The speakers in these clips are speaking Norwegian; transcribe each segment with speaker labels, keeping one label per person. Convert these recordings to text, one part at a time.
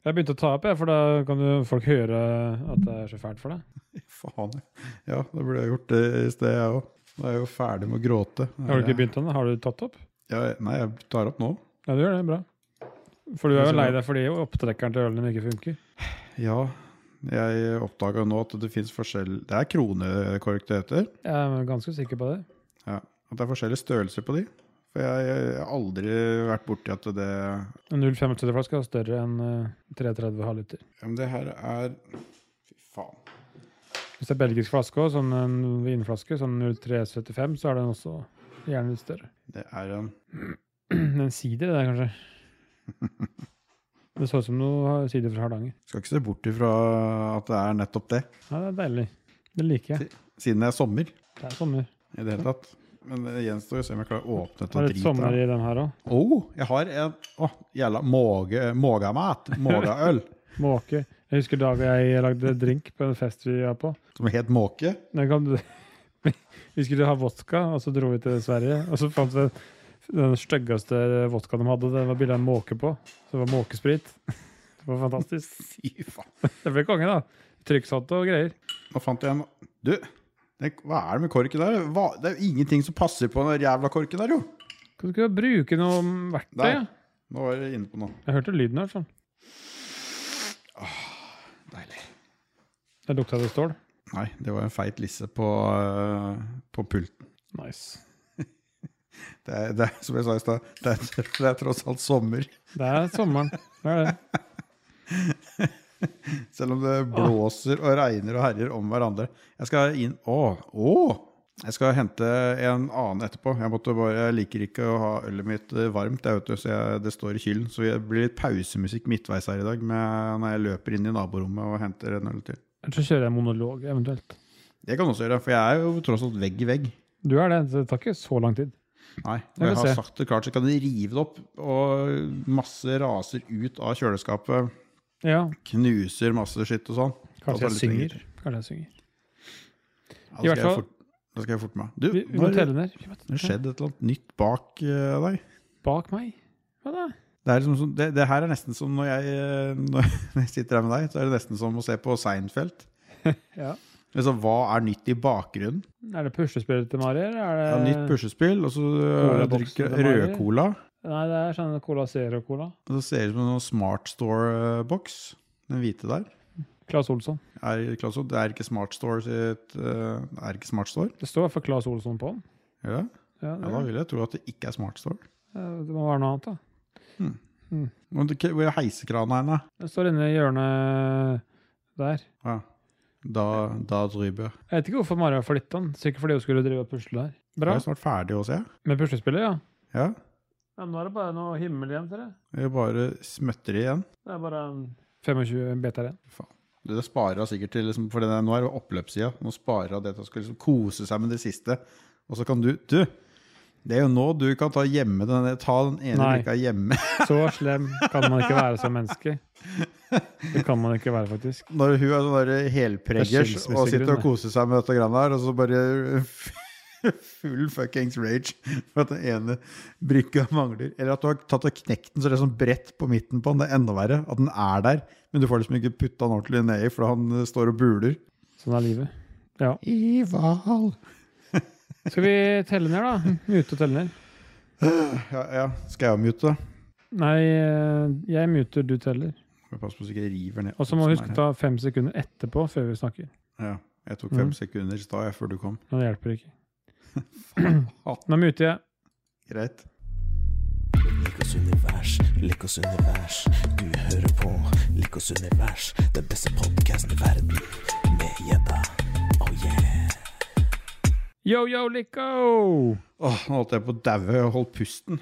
Speaker 1: Jeg begynte å ta opp, jeg, for da kan jo folk høre at det er så fælt for deg.
Speaker 2: Faen, ja. Da burde jeg gjort det i sted, jeg òg. Da er jeg jo ferdig med å gråte.
Speaker 1: Har du ikke begynt ennå? Har du tatt opp?
Speaker 2: Ja, nei, jeg tar opp nå.
Speaker 1: Ja, du gjør det. Bra. For du er jo lei deg fordi opptrekkeren til ølen din ikke funker.
Speaker 2: Ja, jeg oppdaga nå at det fins forskjell Det er kronekork det heter.
Speaker 1: Jeg er ganske sikker på det.
Speaker 2: Ja, at det er forskjellige størrelser på de. For jeg, jeg har aldri vært borti at det ja,
Speaker 1: En 0,75-flaske er større enn eh, 330 halvliter.
Speaker 2: Men det her er Fy faen.
Speaker 1: Hvis det er belgisk flaske òg, sånn en vinflaske, sånn 0375, så er den også gjerne litt større.
Speaker 2: Det er en
Speaker 1: En sider, det der, kanskje. Det så ut som noe sider fra Hardanger.
Speaker 2: Skal ikke se bort ifra at det er nettopp det,
Speaker 1: Ja, det er deilig. Det liker jeg.
Speaker 2: siden det er sommer
Speaker 1: Det er sommer.
Speaker 2: i det hele tatt. Men det gjenstår å se om jeg klarer å åpne
Speaker 1: Det
Speaker 2: dette
Speaker 1: er litt
Speaker 2: dritet.
Speaker 1: sommer
Speaker 2: her.
Speaker 1: i den her òg.
Speaker 2: Oh, jeg har en oh, jævla måge, mågamat. Mågaøl.
Speaker 1: Måke. Jeg husker dagen jeg lagde drink på en fest vi var på.
Speaker 2: Som er helt måke.
Speaker 1: Da kan du, vi skulle ha vodka, og så dro vi til Sverige. Og så fant vi den styggeste vodkaen de hadde. Den var bilde av en måke på. Så det var måkesprit. Det var fantastisk.
Speaker 2: Fy faen.
Speaker 1: Det ble konge, da. Trykksatte og greier.
Speaker 2: Nå fant jeg en Du, det, hva er det med korken der? Hva, det er jo ingenting som passer på den der jævla korken der, jo.
Speaker 1: Kan du ikke bruke noe verktøy?
Speaker 2: Der.
Speaker 1: ja?
Speaker 2: Nå var jeg inne på noe.
Speaker 1: Jeg hørte lyden her. sånn.
Speaker 2: Deilig.
Speaker 1: Det lukta det stål.
Speaker 2: Nei, det var en feit lisse på, øh, på pulten.
Speaker 1: Nice.
Speaker 2: Det er, det er, som jeg sa i stad, det, er- det er tross alt sommer.
Speaker 1: Det er sommeren. Det er det.
Speaker 2: Selv om det blåser og regner og herjer om hverandre. Jeg skal inn Å! å! Jeg skal hente en annen etterpå. Jeg, måtte bare, jeg liker ikke å ha ølet mitt eh, varmt, jeg vet, du, så jeg, det står i kylen. Så det blir litt pausemusikk midtveis her i dag med, når jeg løper inn i naborommet og henter en øl til.
Speaker 1: Eller så kjører jeg monolog, eventuelt.
Speaker 2: Det kan du også gjøre, for jeg er jo tross alt vegg i vegg.
Speaker 1: Du er det. så Det tar ikke så lang tid.
Speaker 2: Nei,
Speaker 1: Jeg
Speaker 2: Når jeg
Speaker 1: vil
Speaker 2: har
Speaker 1: se.
Speaker 2: sagt det klart, så kan de rive det opp, og masse raser ut av kjøleskapet.
Speaker 1: Ja,
Speaker 2: Knuser masse skitt og sånn.
Speaker 1: Kanskje
Speaker 2: Da
Speaker 1: jeg
Speaker 2: tar det litt
Speaker 1: synger.
Speaker 2: lenger.
Speaker 1: Kanskje jeg synger.
Speaker 2: Ja,
Speaker 1: I
Speaker 2: da,
Speaker 1: hvert
Speaker 2: skal jeg
Speaker 1: fall-
Speaker 2: fort, da skal jeg forte meg. Du,
Speaker 1: Vi, vi
Speaker 2: nå
Speaker 1: må
Speaker 2: er det-
Speaker 1: telle ned.
Speaker 2: Det har skjedd et eller annet nytt bak eh, deg.
Speaker 1: Bak meg. Hva da?
Speaker 2: Det, er liksom, som- det, det her er nesten som når jeg, eh, når jeg sitter her med deg, så er det nesten som å se på Seinfeld.
Speaker 1: Ja.
Speaker 2: Liksom, hva er nytt i bakgrunnen?
Speaker 1: Er det puslespillet til Mari? eller Er det,
Speaker 2: Det er nytt puslespill, og så eh,
Speaker 1: Colaboksen
Speaker 2: drikker
Speaker 1: til Mari.
Speaker 2: rødcola.
Speaker 1: Nei, det er sånn Cola Zero-cola.
Speaker 2: Og så ser det ut som en sånn Smart Store-boks. Den hvite der.
Speaker 1: Claes Olsson.
Speaker 2: Er, Klaus, det er ikke Smart Store sitt eh, Det er ikke Smart Store?
Speaker 1: Det står i hvert fall Claes Olsson på den.
Speaker 2: Gjør det?
Speaker 1: Ja,
Speaker 2: Ja,
Speaker 1: det,
Speaker 2: da vil jeg tro at det ikke er Smart Store.
Speaker 1: eh, det må være noe annet, da.
Speaker 2: Men det- Hvor er heisekrana henne?
Speaker 1: Det står inne i hjørnet der.
Speaker 2: Ja. Da, da driver jeg.
Speaker 1: Jeg vet ikke hvorfor Mari har flytta den. Sikkert fordi hun skulle drive og pusle her.
Speaker 2: Jeg
Speaker 1: Bra.
Speaker 2: er snart ferdig å se.
Speaker 1: Med puslespillet, ja.
Speaker 2: Ja.
Speaker 1: ja. Nå er det bare noe himmel igjen til det.
Speaker 2: Jeg bare smøtter igjen.
Speaker 1: Det er bare 25 beta igjen.
Speaker 2: Du, Det sparer hun sikkert til, liksom, for det der, nå er det oppløpssida. Nå sparer hun det til å skulle liksom, kose seg med det siste. Og så kan du Du! Det er jo nå du kan ta, hjemme den, der- ta den ene
Speaker 1: Nei.
Speaker 2: uka hjemme.
Speaker 1: Så slem kan man ikke være som menneske. Det kan man ikke være, faktisk.
Speaker 2: Når hun er sånn der helpreggers
Speaker 1: Det er
Speaker 2: og sitter og
Speaker 1: skilsmissegrunn,
Speaker 2: koser seg med dette grann der, og så bare full fuckings rage for at den ene brykka mangler. Eller at du har tatt og knekt den, så det er sånn bredt på midten på den. Det er enda verre at den er der, men du får liksom ikke putta den ordentlig ned i, for han eh, står og buler.
Speaker 1: Sånn er livet. Ja.
Speaker 2: Ival.
Speaker 1: Skal vi telle ned, da? Mute og telle ned.
Speaker 2: Ja, ja. Skal jeg mute?
Speaker 1: Nei, eh, jeg muter, du teller.
Speaker 2: Må Pass på så ikke jeg river ned.
Speaker 1: Og så må
Speaker 2: alt
Speaker 1: vi
Speaker 2: som
Speaker 1: huske å
Speaker 2: er her.
Speaker 1: ta fem sekunder etterpå før vi snakker.
Speaker 2: Ja, Jeg tok fem
Speaker 1: Mm.
Speaker 2: sekunder i stad jeg, før du kom.
Speaker 1: Men det hjelper ikke. Nå muter jeg.
Speaker 2: Greit.
Speaker 3: Likos univers, Likos univers. Du hører på Likos univers, den beste podkasten i verden. Med gjedda. Oh yeah.
Speaker 1: Yo, yo, Lico!
Speaker 2: Åh, nå holdt jeg på å daue og holdt pusten.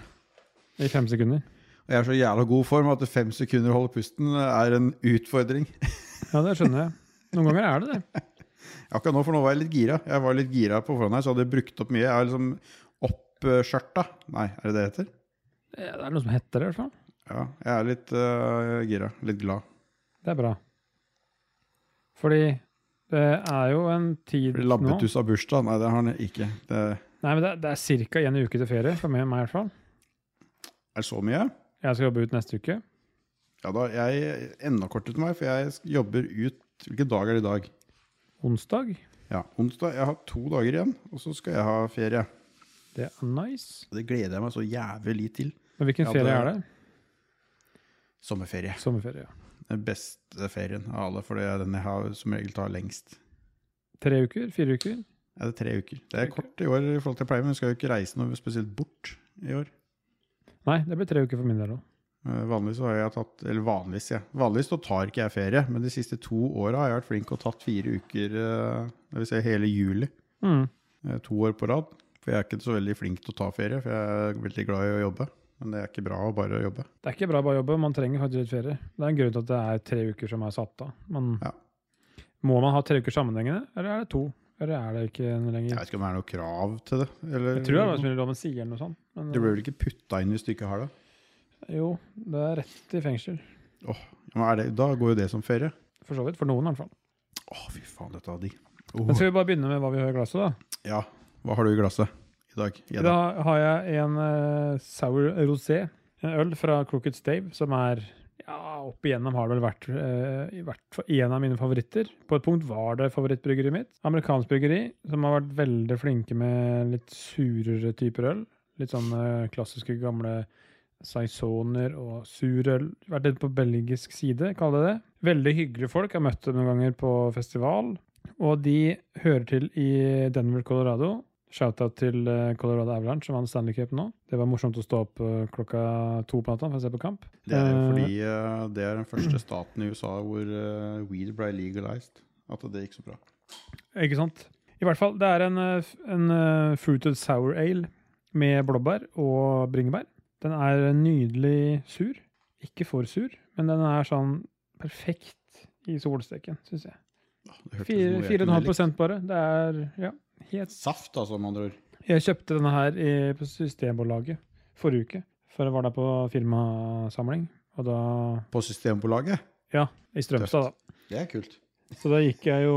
Speaker 1: I fem sekunder.
Speaker 2: Og jeg er så jævla god form at fem sekunder å holde pusten er en utfordring.
Speaker 1: Ja, det skjønner jeg. Noen ganger er det det.
Speaker 2: Akkurat nå, for nå var jeg litt gira. Jeg var litt gira på forhånd her, så hadde jeg brukt opp mye. Jeg har liksom oppskjørta. Nei, er det det det heter?
Speaker 1: Eh, Det er noe som heter det, i hvert fall.
Speaker 2: Ja. Jeg er litt øh, gira. Litt glad.
Speaker 1: Det er bra. Fordi det er jo en tid nå Nei,
Speaker 2: Labbetuss av bursdag? Nei, det har han ikke. Det
Speaker 1: men det er, det er ca. en uke til ferie, for meg, meg i hvert fall.
Speaker 2: er så mye.
Speaker 1: Jeg skal jobbe ut neste uke.
Speaker 2: Ja da, jeg enda kortere til meg, for jeg sk- jobber ut Hvilken dag er det i dag?
Speaker 1: Onsdag.
Speaker 2: Ja, onsdag. Jeg har to dager igjen, og så skal jeg ha ferie.
Speaker 1: Det er nice.
Speaker 2: Og Det gleder jeg meg så jævlig til.
Speaker 1: Men hvilken
Speaker 2: Ja,
Speaker 1: ferie
Speaker 2: det-
Speaker 1: er det?
Speaker 2: Sommerferie.
Speaker 1: Sommerferie. ja.
Speaker 2: Den beste ferien av alle, for det er den jeg har, som regel tar lengst.
Speaker 1: Tre uker? Fire uker?
Speaker 2: Ja, det er tre uker. Det er kort i år i forhold til jeg pleier, men vi skal jo ikke reise noe spesielt bort i år.
Speaker 1: Nei, det blir tre uker for min del òg.
Speaker 2: Eh, Vanligvis har jeg tatt, eller vanligvis, ja. Vanligvis da tar ikke jeg ferie, men de siste to åra har jeg vært flink og tatt fire uker, eh, det vil si hele juli,
Speaker 1: Mm.
Speaker 2: eh, to år på rad. For jeg er ikke så veldig flink til å ta ferie, for jeg er veldig glad i å jobbe. Men det er ikke bra å bare jobbe.
Speaker 1: Det er ikke bra å bare jobbe, man trenger faktisk litt ferie. Det er en grunn til at det er tre uker som er satt av. Men
Speaker 2: Ja.
Speaker 1: må man ha tre uker sammenhengende, eller er det to? Eller er det ikke noe
Speaker 2: Jeg
Speaker 1: lenger?
Speaker 2: vet ikke om det er noe krav til det. Eller,
Speaker 1: Jeg tror arbeidsmiljøloven sier noe sånt. Men eh,
Speaker 2: Det blir vel ikke putta inn hvis du ikke har det?
Speaker 1: jo, det er rett til fengsel.
Speaker 2: Ja, men er det da går jo det som ferie.
Speaker 1: For så vidt. For noen, i hvert fall.
Speaker 2: Å, fy faen, dette var digg.
Speaker 1: Men
Speaker 2: Åh,
Speaker 1: skal vi bare begynne med hva vi har i glasset, da?
Speaker 2: Ja, hva har du i glasset i dag? Gi
Speaker 1: Da
Speaker 2: deg.
Speaker 1: har jeg en eh, sour rosé. En øl fra Crooked Stave som er ja, opp igjennom har det vel vært eh, i hvert fall en av mine favoritter. På et punkt var det favorittbryggeriet mitt. Amerikansk bryggeri som har vært veldig flinke med litt surere typer øl. Litt sånne klassiske gamle saisoner og surøl. Vært litt på belgisk side, kall det det. Veldig hyggelige folk. Jeg har møtt dem noen ganger på festival. Og de hører til i Denver, Colorado. Shoutout til eh, Colorado Avalanche, som vant Stanley Cup nå. Det var morsomt å stå opp eh, klokka to på natta for å se på kamp.
Speaker 2: Det er jo
Speaker 1: Eh,
Speaker 2: fordi eh, det er den første staten i USA hvor eh, weed ble legalized. At det gikk så bra.
Speaker 1: Ikke sant? I hvert fall, det er en, eh, f- en eh, fruited sour ale med blåbær og bringebær. Den er nydelig sur. Ikke for sur, men den er sånn perfekt i solsteken, syns jeg.
Speaker 2: Det hørtes
Speaker 1: Fire-
Speaker 2: noe jeg kunne
Speaker 1: 4,5
Speaker 2: likt.
Speaker 1: prosent bare. Det er ja, helt
Speaker 2: Saft, altså, med andre ord.
Speaker 1: Jeg kjøpte denne her i, på Systembolaget forrige uke. For jeg var der på firmasamling. Og da
Speaker 2: På Systembolaget.
Speaker 1: Ja, i Strømstad, da.
Speaker 2: Det er kult.
Speaker 1: Så da gikk jeg jo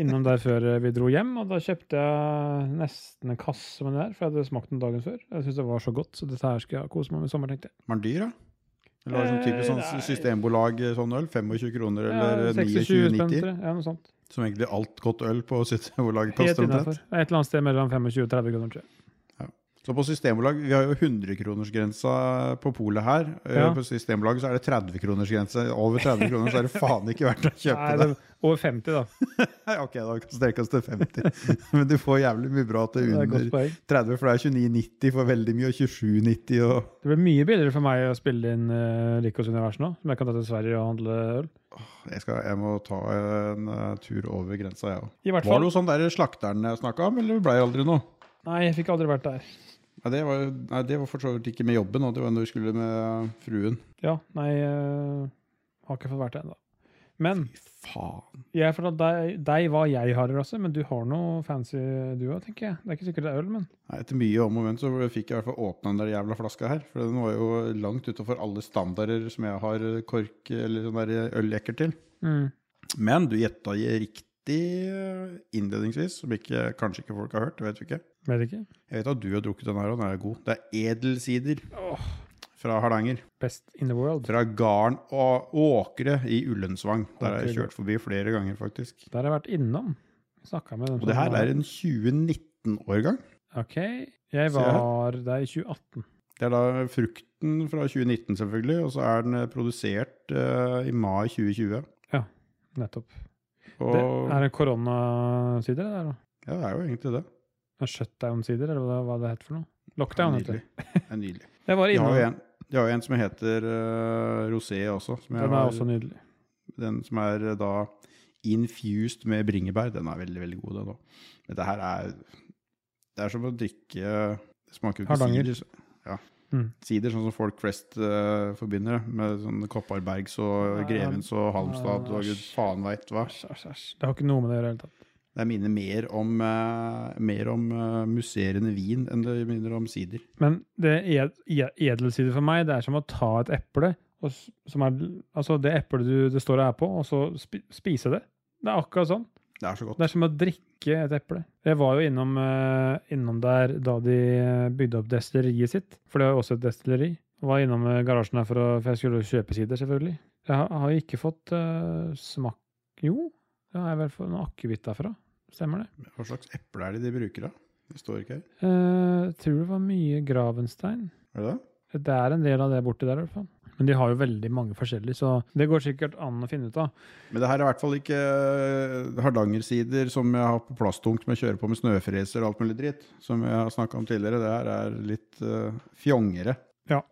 Speaker 1: innom der før vi dro hjem, og da kjøpte jeg nesten en kasse med det der, for jeg hadde smakt den dagen før. Jeg syntes det var så godt, så dette her skal jeg kose meg med i sommer, tenkte jeg.
Speaker 2: Var den dyr, da? Eller var det sånn typisk
Speaker 1: Eh, nei.
Speaker 2: sånn Systembolag eh, sånn øl? 25 kroner
Speaker 1: Ja,
Speaker 2: eller
Speaker 1: 26
Speaker 2: eh,
Speaker 1: spenn, tror
Speaker 2: 29,90?
Speaker 1: jeg. Ja, noe sånt.
Speaker 2: Som egentlig alt godt øl på Systembolaget
Speaker 1: Helt
Speaker 2: koster
Speaker 1: innafor.
Speaker 2: omtrent.
Speaker 1: Et eller annet sted mellom 25 og 30 kroner, tror jeg.
Speaker 2: Så på Systembolag, Vi har jo 100-kronersgrensa på polet her. Eh,
Speaker 1: Ja.
Speaker 2: På Systembolaget så er det 30-kronersgrense. Over 30 kroner så er det faen ikke verdt å kjøpe
Speaker 1: Nei,
Speaker 2: det.
Speaker 1: det over 50, da.
Speaker 2: Nei, ok, da strekker vi oss til 50. Men du får jævlig mye bra
Speaker 1: Det
Speaker 2: til
Speaker 1: er et
Speaker 2: under
Speaker 1: godt poeng.
Speaker 2: 30, for det er 29,90 for veldig mye, og 27,90 og
Speaker 1: Det blir mye billigere for meg å spille inn uh, Rikos univers nå, som jeg kan ta til Sverige og handle øl.
Speaker 2: jeg, skal, jeg må ta en eh, tur over grensa, jeg òg.
Speaker 1: I hvert
Speaker 2: Var
Speaker 1: fall.
Speaker 2: det jo sånn der slakteren jeg snakka om, eller ble det aldri noe?
Speaker 1: Nei, jeg fikk aldri vært der.
Speaker 2: Nei, det var, nei, det var for så vidt ikke med jobben, og det var når vi skulle med fruen.
Speaker 1: Ja, nei, øh, har ikke fått vært der ennå. Men
Speaker 2: Faen.
Speaker 1: jeg fortalte deg, deg hva jeg har i glasset, men du har noe fancy du òg, tenker jeg. Det er ikke sikkert det er øl, men
Speaker 2: Nei, etter mye om og men så fikk jeg i hvert fall åpna den der jævla flaska her. For den var jo langt utafor alle standarder som jeg har kork eller sånn der øljekker til.
Speaker 1: mm.
Speaker 2: Men du gjetta riktig eh, innledningsvis, som ikke, kanskje ikke folk har hørt. det vet vi ikke.
Speaker 1: Vet ikke.
Speaker 2: Jeg vet at du har drukket den her, og den er god. Det er edelsider
Speaker 1: Åh,
Speaker 2: fra Hardanger.
Speaker 1: best in the world.
Speaker 2: Fra Garn og Åkre i Ullensvang. Der har jeg
Speaker 1: Åkre.
Speaker 2: kjørt forbi flere ganger, faktisk.
Speaker 1: Der har jeg vært innom. Snakka med dem
Speaker 2: Og det her er en 2019-årgang.
Speaker 1: OK. Jeg
Speaker 2: Se her.
Speaker 1: var der i 2018.
Speaker 2: Det er da frukten fra 2019, selvfølgelig, og så er den eh, produsert eh, i mai 2020.
Speaker 1: Nettopp.
Speaker 2: Og
Speaker 1: Det er en koronasider, det der, da.
Speaker 2: ja, det er jo egentlig det.
Speaker 1: En Shutdown-sider, eller hva det- hva det het for noe.
Speaker 2: Det er
Speaker 1: Lockdown, heter
Speaker 2: nydelig.
Speaker 1: det.
Speaker 2: Det er nydelig.
Speaker 1: Jeg var
Speaker 2: De har jo
Speaker 1: innom.
Speaker 2: en, de har jo en som heter eh, Rosé også. Som
Speaker 1: Den
Speaker 2: jeg
Speaker 1: er
Speaker 2: har-
Speaker 1: også nydelig.
Speaker 2: Den som er eh, da infused med bringebær, den er veldig, veldig god, den òg. Men det her er Det er som å drikke Det smaker jo ikke
Speaker 1: Hardanger.
Speaker 2: sider. så- Ja.
Speaker 1: Mm.
Speaker 2: Sider, sånn som folk flest eh, forbinder det, med sånn Kopparbergs og
Speaker 1: Nei, ja.
Speaker 2: Grevens og Halmstad og gud faen veit hva.
Speaker 1: Æsj, æsj, æsj. Det har ikke noe med det å gjøre i det hele tatt.
Speaker 2: Det minner mer om, eh, mer om eh, musserende vin enn det minner om sider.
Speaker 1: Men det ed e- edelside for meg, det er som å ta et eple, og s- som er, altså det eplet du, det står her på, og så spi spise det. Det er akkurat sånn.
Speaker 2: Det er så godt.
Speaker 1: Det er som å drikke et eple. Jeg var jo innom, eh, innom der da de eh, bygde opp destilleriet sitt, for det er jo også et destilleri. Var innom eh, garasjen her for, å, for jeg skulle jo kjøpe sider, selvfølgelig. Jeg har, har ikke fått eh, smak Jo, det har jeg vel fått noe akevitt derfra. Stemmer det.
Speaker 2: Hva slags eple er det de bruker, da? Det står ikke her.
Speaker 1: Eh, jeg tror det var mye Gravenstein.
Speaker 2: Er det det?
Speaker 1: Det er en del av det borti der, i hvert fall. Men de har jo veldig mange forskjellige, så det går sikkert an å finne ut av.
Speaker 2: Men det her er i hvert fall ikke eh, hardangersider som jeg har på plastdunk som jeg kjører på med snøfreser og alt mulig dritt. Som jeg har snakka om tidligere. Det her er litt eh, fjongere.
Speaker 1: Ja.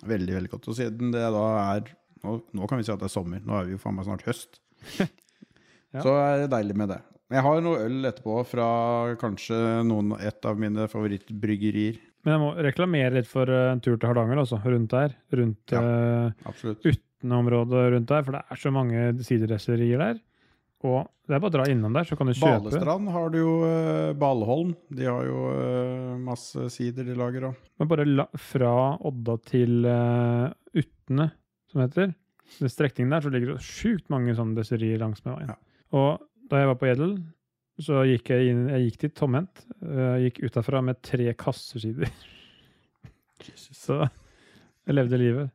Speaker 2: Veldig, veldig godt. Og siden det da er nå, nå kan vi si at det er sommer. Nå er vi jo faen meg snart høst.
Speaker 1: Ja.
Speaker 2: Så er det deilig med det. Jeg har noe øl etterpå fra kanskje noen, et av mine favorittbryggerier.
Speaker 1: Men jeg må reklamere litt for eh, en tur til Hardanger, altså. Rundt der. Rundt
Speaker 2: Ja.
Speaker 1: eh,
Speaker 2: Absolutt.
Speaker 1: Utneområdet rundt der, for det er så mange siderestaurerier der. Og det er bare å dra innom der, så kan du kjøpe.
Speaker 2: Balestrand har du jo eh, Baleholm. De har jo eh, masse sider de lager òg.
Speaker 1: Men bare la, fra Odda til eh, Utne, som det heter, den strekningen der, så ligger det sjukt mange sånne destillerier langs med veien.
Speaker 2: Ja.
Speaker 1: Og da jeg var på Edel, så gikk jeg inn, jeg gikk dit tomhendt. eh, Jeg gikk ut derfra med tre kassesider. Så jeg levde livet.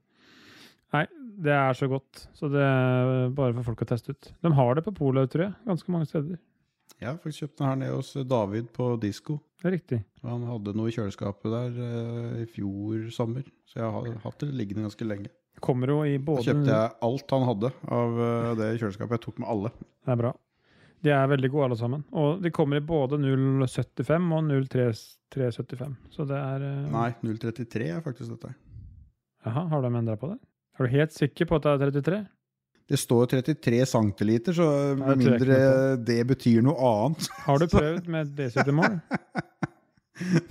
Speaker 1: Nei, det er så godt. Så det er bare for folk å teste ut. De har det på Polet, tror jeg. Ganske mange steder.
Speaker 2: Jeg har faktisk kjøpt den her nede hos David på Disko.
Speaker 1: Det er riktig.
Speaker 2: Han hadde noe i kjøleskapet der eh, i fjor sommer, så jeg har hatt det liggende ganske lenge.
Speaker 1: Kommer jo i
Speaker 2: Da
Speaker 1: både
Speaker 2: kjøpte jeg alt han hadde av eh, det kjøleskapet. Jeg tok med alle.
Speaker 1: Det er bra. De er veldig gode, alle sammen. Og de kommer i både 0,75 og 0,375. Så det er eh,
Speaker 2: Nei, 033 er faktisk dette.
Speaker 1: Jaha, har de endra på det? Er du helt sikker på at det er 33?
Speaker 2: Det står 33 centiliter, så eh,
Speaker 1: Nei,
Speaker 2: med
Speaker 1: det tror jeg
Speaker 2: mindre
Speaker 1: ikke
Speaker 2: det betyr noe annet
Speaker 1: Har du prøvd med decimalmål?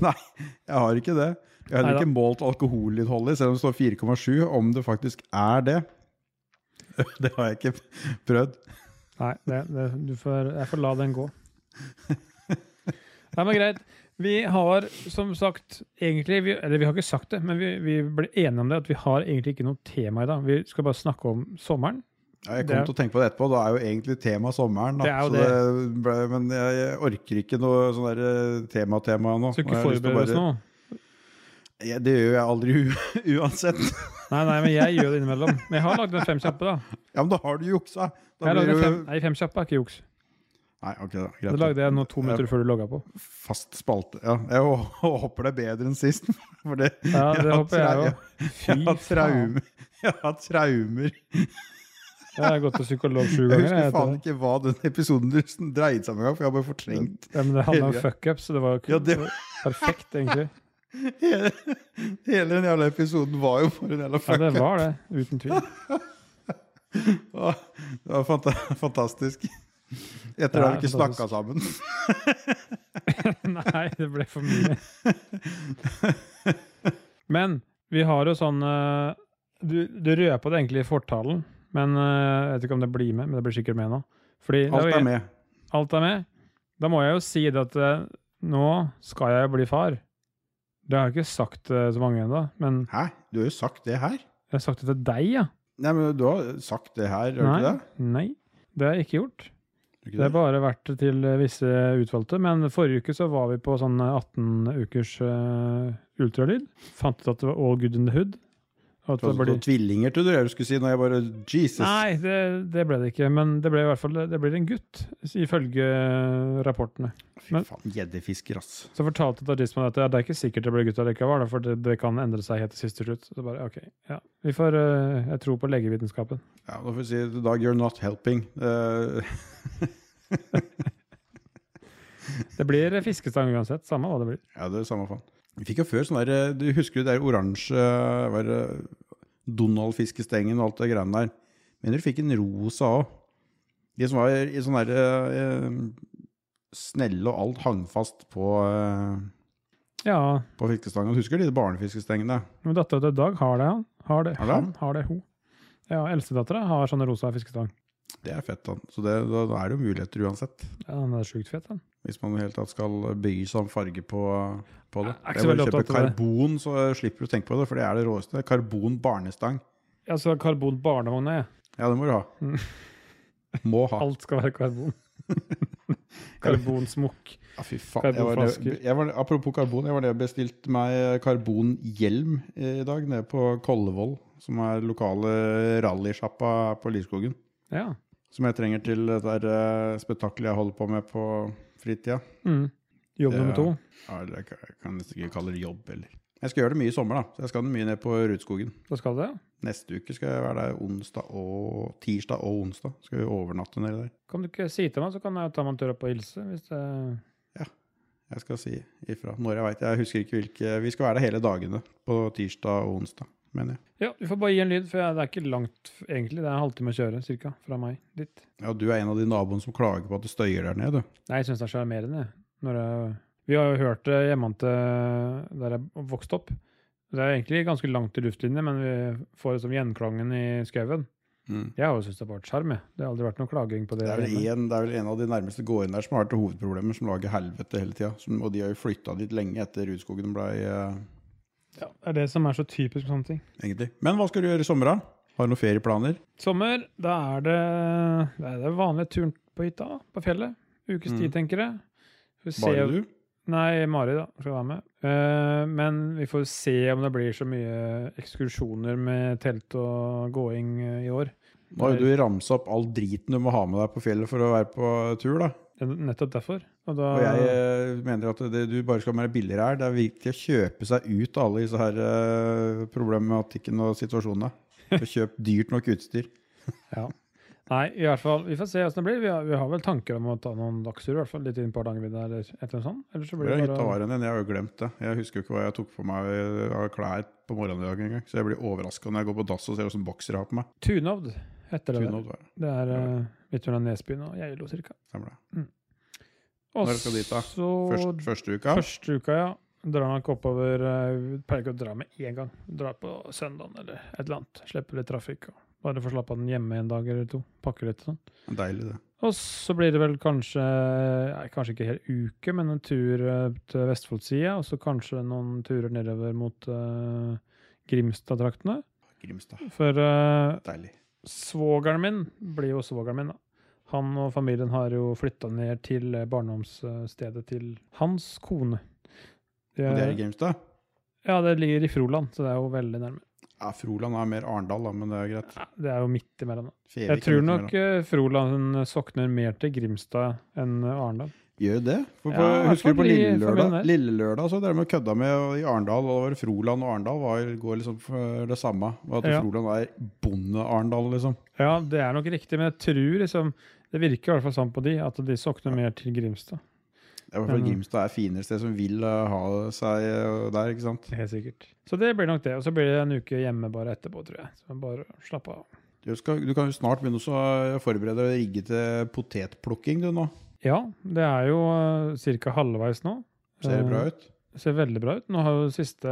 Speaker 2: Nei, jeg har ikke det. Jeg har heller
Speaker 1: Neida.
Speaker 2: ikke målt alkoholinnholdet, selv om det står 4,7, om det faktisk er det. Det har jeg ikke prøvd.
Speaker 1: Nei, det, det, du får, jeg får la den gå. Nei, men greit. Vi har som sagt egentlig vi, Eller vi har ikke sagt det, men vi, vi ble enige om det at vi har egentlig ikke noe tema i dag. Vi skal bare snakke om sommeren.
Speaker 2: Ja, jeg
Speaker 1: Det
Speaker 2: kom
Speaker 1: er-
Speaker 2: til å tenke på det etterpå. Da er jo egentlig tema sommeren. Da.
Speaker 1: Det er jo
Speaker 2: Så det ble, men jeg, jeg orker ikke noe sånn der eh, tema-tema nå.
Speaker 1: Så
Speaker 2: Nå
Speaker 1: ikke
Speaker 2: har jeg lyst til å
Speaker 1: forberede oss
Speaker 2: bare-
Speaker 1: nå.
Speaker 2: Ja, det gjør jeg aldri u uansett.
Speaker 1: Nei, nei, men jeg gjør det innimellom. Men jeg har lagd en fem kjappe, da.
Speaker 2: Ja, men da har du juksa! Da
Speaker 1: Jeg lagde
Speaker 2: blir
Speaker 1: fem,
Speaker 2: du...
Speaker 1: nei, fem kjappe er ikke juks.
Speaker 2: Nei, ok da. Greit.
Speaker 1: Det lagde jeg nå to minutter før du logga på.
Speaker 2: Fast spalte. Ja, jeg hå- håper det er bedre enn sist. For det,
Speaker 1: Ja,
Speaker 2: jeg
Speaker 1: det
Speaker 2: har
Speaker 1: håper jeg
Speaker 2: trau-
Speaker 1: òg. Fy
Speaker 2: Jeg har
Speaker 1: faen.
Speaker 2: traumer. Jeg har traumer.
Speaker 1: Jeg har gått til psykolog sju
Speaker 2: Jeg
Speaker 1: ganger.
Speaker 2: husker
Speaker 1: Jeg,
Speaker 2: faen
Speaker 1: etter det.
Speaker 2: ikke hva den episoden dreide seg om engang, for jeg har bare fortrengt
Speaker 1: ja, men det handla om fuckup, så det var jo
Speaker 2: Ja, det-
Speaker 1: perfekt, egentlig.
Speaker 2: hele, hele den jævla episoden var jo for en
Speaker 1: Ja,
Speaker 2: jævla fuck
Speaker 1: det var det. Uten tvil.
Speaker 2: Åh, Det var fanta fantastisk. Etter det har vi ikke snakka sammen.
Speaker 1: Nei, det ble for mye. Men vi har jo sånn eh, Du, du røpa det egentlig i fortalen, men eh, jeg vet ikke om det blir med. Men det blir sikkert med nå. Fordi det
Speaker 2: Alt
Speaker 1: jo-
Speaker 2: er med.
Speaker 1: alt er med. Da må jeg jo si det at eh, nå skal jeg bli far. Det har jeg ikke sagt eh, så mange ennå, men
Speaker 2: Hæ? Du har jo sagt det her.
Speaker 1: jeg har sagt det til deg, ja.
Speaker 2: Nei, men Du har sagt det her, har du ikke det?
Speaker 1: Nei, det har jeg ikke gjort.
Speaker 2: Har du
Speaker 1: Det
Speaker 2: ikke
Speaker 1: har
Speaker 2: det?
Speaker 1: bare vært til eh, visse utvalgte. Men forrige uke så var vi på sånn 18 ukers eh, ultralyd. Fant ut at det var all good in the hood. Og at
Speaker 2: Det var
Speaker 1: det blir...
Speaker 2: sånn tvillinger til dere du skulle si når jeg bare Jesus.
Speaker 1: Nei, det, det ble det ikke. Men det ble i hvert fall det blir en gutt, ifølge eh, rapportene.
Speaker 2: Fy
Speaker 1: men-
Speaker 2: faen, gjeddefisker, ass.
Speaker 1: Så fortalte Tarisman at ja, det er ikke sikkert det blir gutta likevel, da, for det, det kan endre seg helt til siste slutt. Så bare, ok, ja. Vi får, eh, jeg tror på legevitenskapen.
Speaker 2: Ja, Da får vi si til Dag, you're not helping. Eh,
Speaker 1: Det blir eh, fiskestang uansett, samme hva det blir.
Speaker 2: ja, det er samme faen. Vi fikk jo før sånn der eh, Du husker jo det der oransje eh, hva er det, Donald-fiskestengen og alt det greiene der. Men dere fikk en rosa òg. De som var i sånn derre Snelle og alt hang fast på, eh,
Speaker 1: Ja,
Speaker 2: på fiskestangen. Husker du de barnefiskestengene?
Speaker 1: men dattera til Dag har det, han. Har det,
Speaker 2: Har det?
Speaker 1: han, har det, hun. Ja, eldstedattera har sånne rosa fiskestang.
Speaker 2: Det er fett, da. Så det, da, da er det jo muligheter uansett.
Speaker 1: Ja, han er sjukt fet, han.
Speaker 2: Hvis man i det hele tatt skal bry seg om farge på, på det.
Speaker 1: Jeg er ikke så
Speaker 2: Det er bare
Speaker 1: veldig
Speaker 2: å kjøpe
Speaker 1: opptatt av det.
Speaker 2: karbon, så slipper du å tenke på det, for det er det råeste. Karbon barnestang.
Speaker 1: Jeg skal ha karbon barnevogn, jeg.
Speaker 2: Ja, det må du ha. Må ha.
Speaker 1: Alt skal være karbon. Karbonsmokk.
Speaker 2: Ja, fy faen. Jeg var,
Speaker 1: Karbonflasker.
Speaker 2: jeg var, apropos karbon, jeg var det jeg bestilte meg eh, karbonhjelm eh, i dag nede på Kollevoll, som er lokale rallysjappa på Lierskogen.
Speaker 1: Ja.
Speaker 2: Som jeg trenger til det der eh, spetakkelet jeg holder på med på fritida.
Speaker 1: Mm. Jobb
Speaker 2: Det-
Speaker 1: nummer to.
Speaker 2: Ja, eller jeg kan- jeg kan nesten ikke kalle det jobb, eller. Jeg skal gjøre det mye i sommer, da. Så jeg skal mye ned på Rudskogen.
Speaker 1: Da skal det.
Speaker 2: Neste uke skal jeg være der onsdag og tirsdag og onsdag. Skal vi overnatte nedi der.
Speaker 1: Kan du ikke si til meg, så kan jeg ta meg en tur opp og hilse. Hvis det...
Speaker 2: Jeg skal si ifra når jeg veit. Jeg husker ikke hvilke Vi skal være der hele dagene på tirsdag og onsdag, mener jeg.
Speaker 1: Ja, du får bare gi en lyd, for jeg, det er ikke langt f- egentlig. Det er en halvtime å kjøre cirka, fra meg dit.
Speaker 2: Ja, du er en av de naboene som klager på at det støyer der nede, du.
Speaker 1: Nei, jeg syns det er sjarmerende. jeg. Når jeg- Vi har jo hørt det hjemme til der jeg vokste opp. Det er egentlig ganske langt til luftlinje, men vi får liksom gjenklangen i skauen. Jeg har jo syntes det har vært sjarm. jeg. Det har aldri vært noe klaging på det.
Speaker 2: Mm. Det er, vel
Speaker 1: hjemme.
Speaker 2: en, det er vel en av de nærmeste gårdene der som har vært hovedproblemer, som lager helvete hele tida. Som- Og de har jo flytta dit lenge etter Rudskogen blei eh,
Speaker 1: Ja, det er det som er så typisk med sånne ting.
Speaker 2: egentlig. Men hva skal du gjøre i sommer, da? Har du noen ferieplaner?
Speaker 1: Sommer, da er det det er den vanlige turen på hytta, på fjellet. Ukes tid,
Speaker 2: Mm.
Speaker 1: tenker jeg. Får vi se-
Speaker 2: Bare du?
Speaker 1: Nei, Mari da, skal være med. Eh, men vi får se om det blir så mye ekskursjoner med telt og gåing eh, i år.
Speaker 2: Nå har jo du ramsa opp all driten du må ha med deg på fjellet for å være på tur, da.
Speaker 1: Ja, Nettopp derfor. Og da,
Speaker 2: Og jeg eh, mener at det du bare skal være billigere her. Det er viktig å kjøpe seg ut av alle disse her eh, problematikken og situasjonene. Og Kjøp dyrt nok utstyr.
Speaker 1: Nei, i hvert fall, vi får se hvordan det blir. Vi har, vi har vel tanker om å ta noen dagsturer, i hvert fall litt inn et par dager videre, eller et eller annet sånt. Eller så
Speaker 2: Det
Speaker 1: blir
Speaker 2: er
Speaker 1: det
Speaker 2: hytta
Speaker 1: bare
Speaker 2: var en, jeg har jo glemt det. Jeg husker jo ikke hva jeg tok på meg eh, av klær på morgenen i dag engang. Så jeg blir overraska når jeg går på dass og ser hvordan bokser jeg har på meg.
Speaker 1: Tunovd heter det. der.
Speaker 2: Tunhold, var det.
Speaker 1: Det er eh, litt under Nesbyen og Geilo, cirka.
Speaker 2: Stemmer det.
Speaker 1: Og
Speaker 2: Når skal du dit, da?
Speaker 1: så-
Speaker 2: Først, første uka.
Speaker 1: Første uka, ja. Drar nok oppover eh, vi Pleier ikke å dra med én gang. Drar på søndagen eller et eller annet. Slipper litt trafikk. Og bare får slappe av den hjemme en dag eller to. Pakker litt og sånn.
Speaker 2: Deilig, det.
Speaker 1: Og så blir det vel kanskje nei, Kanskje ikke hel uke, men en tur eh, til Vestfoldsida. Og så kanskje noen turer nedover mot eh, Grimstad-traktene.
Speaker 2: Grimstad.
Speaker 1: For eh,
Speaker 2: Deilig.
Speaker 1: svogeren min blir jo svogeren min, da. Han og familien har jo flytta ned til eh, barndomsstedet til hans kone. De
Speaker 2: Og det er
Speaker 1: er-
Speaker 2: i Grimstad?
Speaker 1: ja, det ligger i Froland, så det er jo veldig nærme.
Speaker 2: Ja, Froland er mer Arendal, da, men det er greit.
Speaker 1: Ja, Det er jo midt imellom. da.
Speaker 2: Fevik
Speaker 1: Jeg
Speaker 2: er
Speaker 1: tror
Speaker 2: midt
Speaker 1: nok
Speaker 2: imellom.
Speaker 1: eh, Froland sokner mer til Grimstad enn eh, Arendal.
Speaker 2: Gjør det? For på,
Speaker 1: Ja,
Speaker 2: husker du på
Speaker 1: fordi-
Speaker 2: Lille
Speaker 1: for min
Speaker 2: Lørdag?
Speaker 1: del.
Speaker 2: Lille Lørdag så drev de og kødda med og i Arendal, og det var Froland og Arendal var, går liksom for det samme. Og at
Speaker 1: Ja.
Speaker 2: Froland er bonde-Arendal, liksom.
Speaker 1: Ja, det er nok riktig, men jeg tror liksom Det virker i hvert fall sånn på de, at de sokner mer til Grimstad.
Speaker 2: Det er fordi
Speaker 1: Ja.
Speaker 2: Grimstad er finere sted som vil eh, ha seg eh, der, ikke sant?
Speaker 1: Helt sikkert. Så det blir nok det. Og så blir det en uke hjemme bare etterpå, tror jeg. Så bare slappe av.
Speaker 2: Du, skal, du kan jo snart begynne også å eh, forberede deg og rigge til potetplukking, du nå.
Speaker 1: Ja, det er jo ca. halvveis nå.
Speaker 2: Ser det bra
Speaker 1: Eh,
Speaker 2: ut?
Speaker 1: Ser veldig bra ut. Nå har jo siste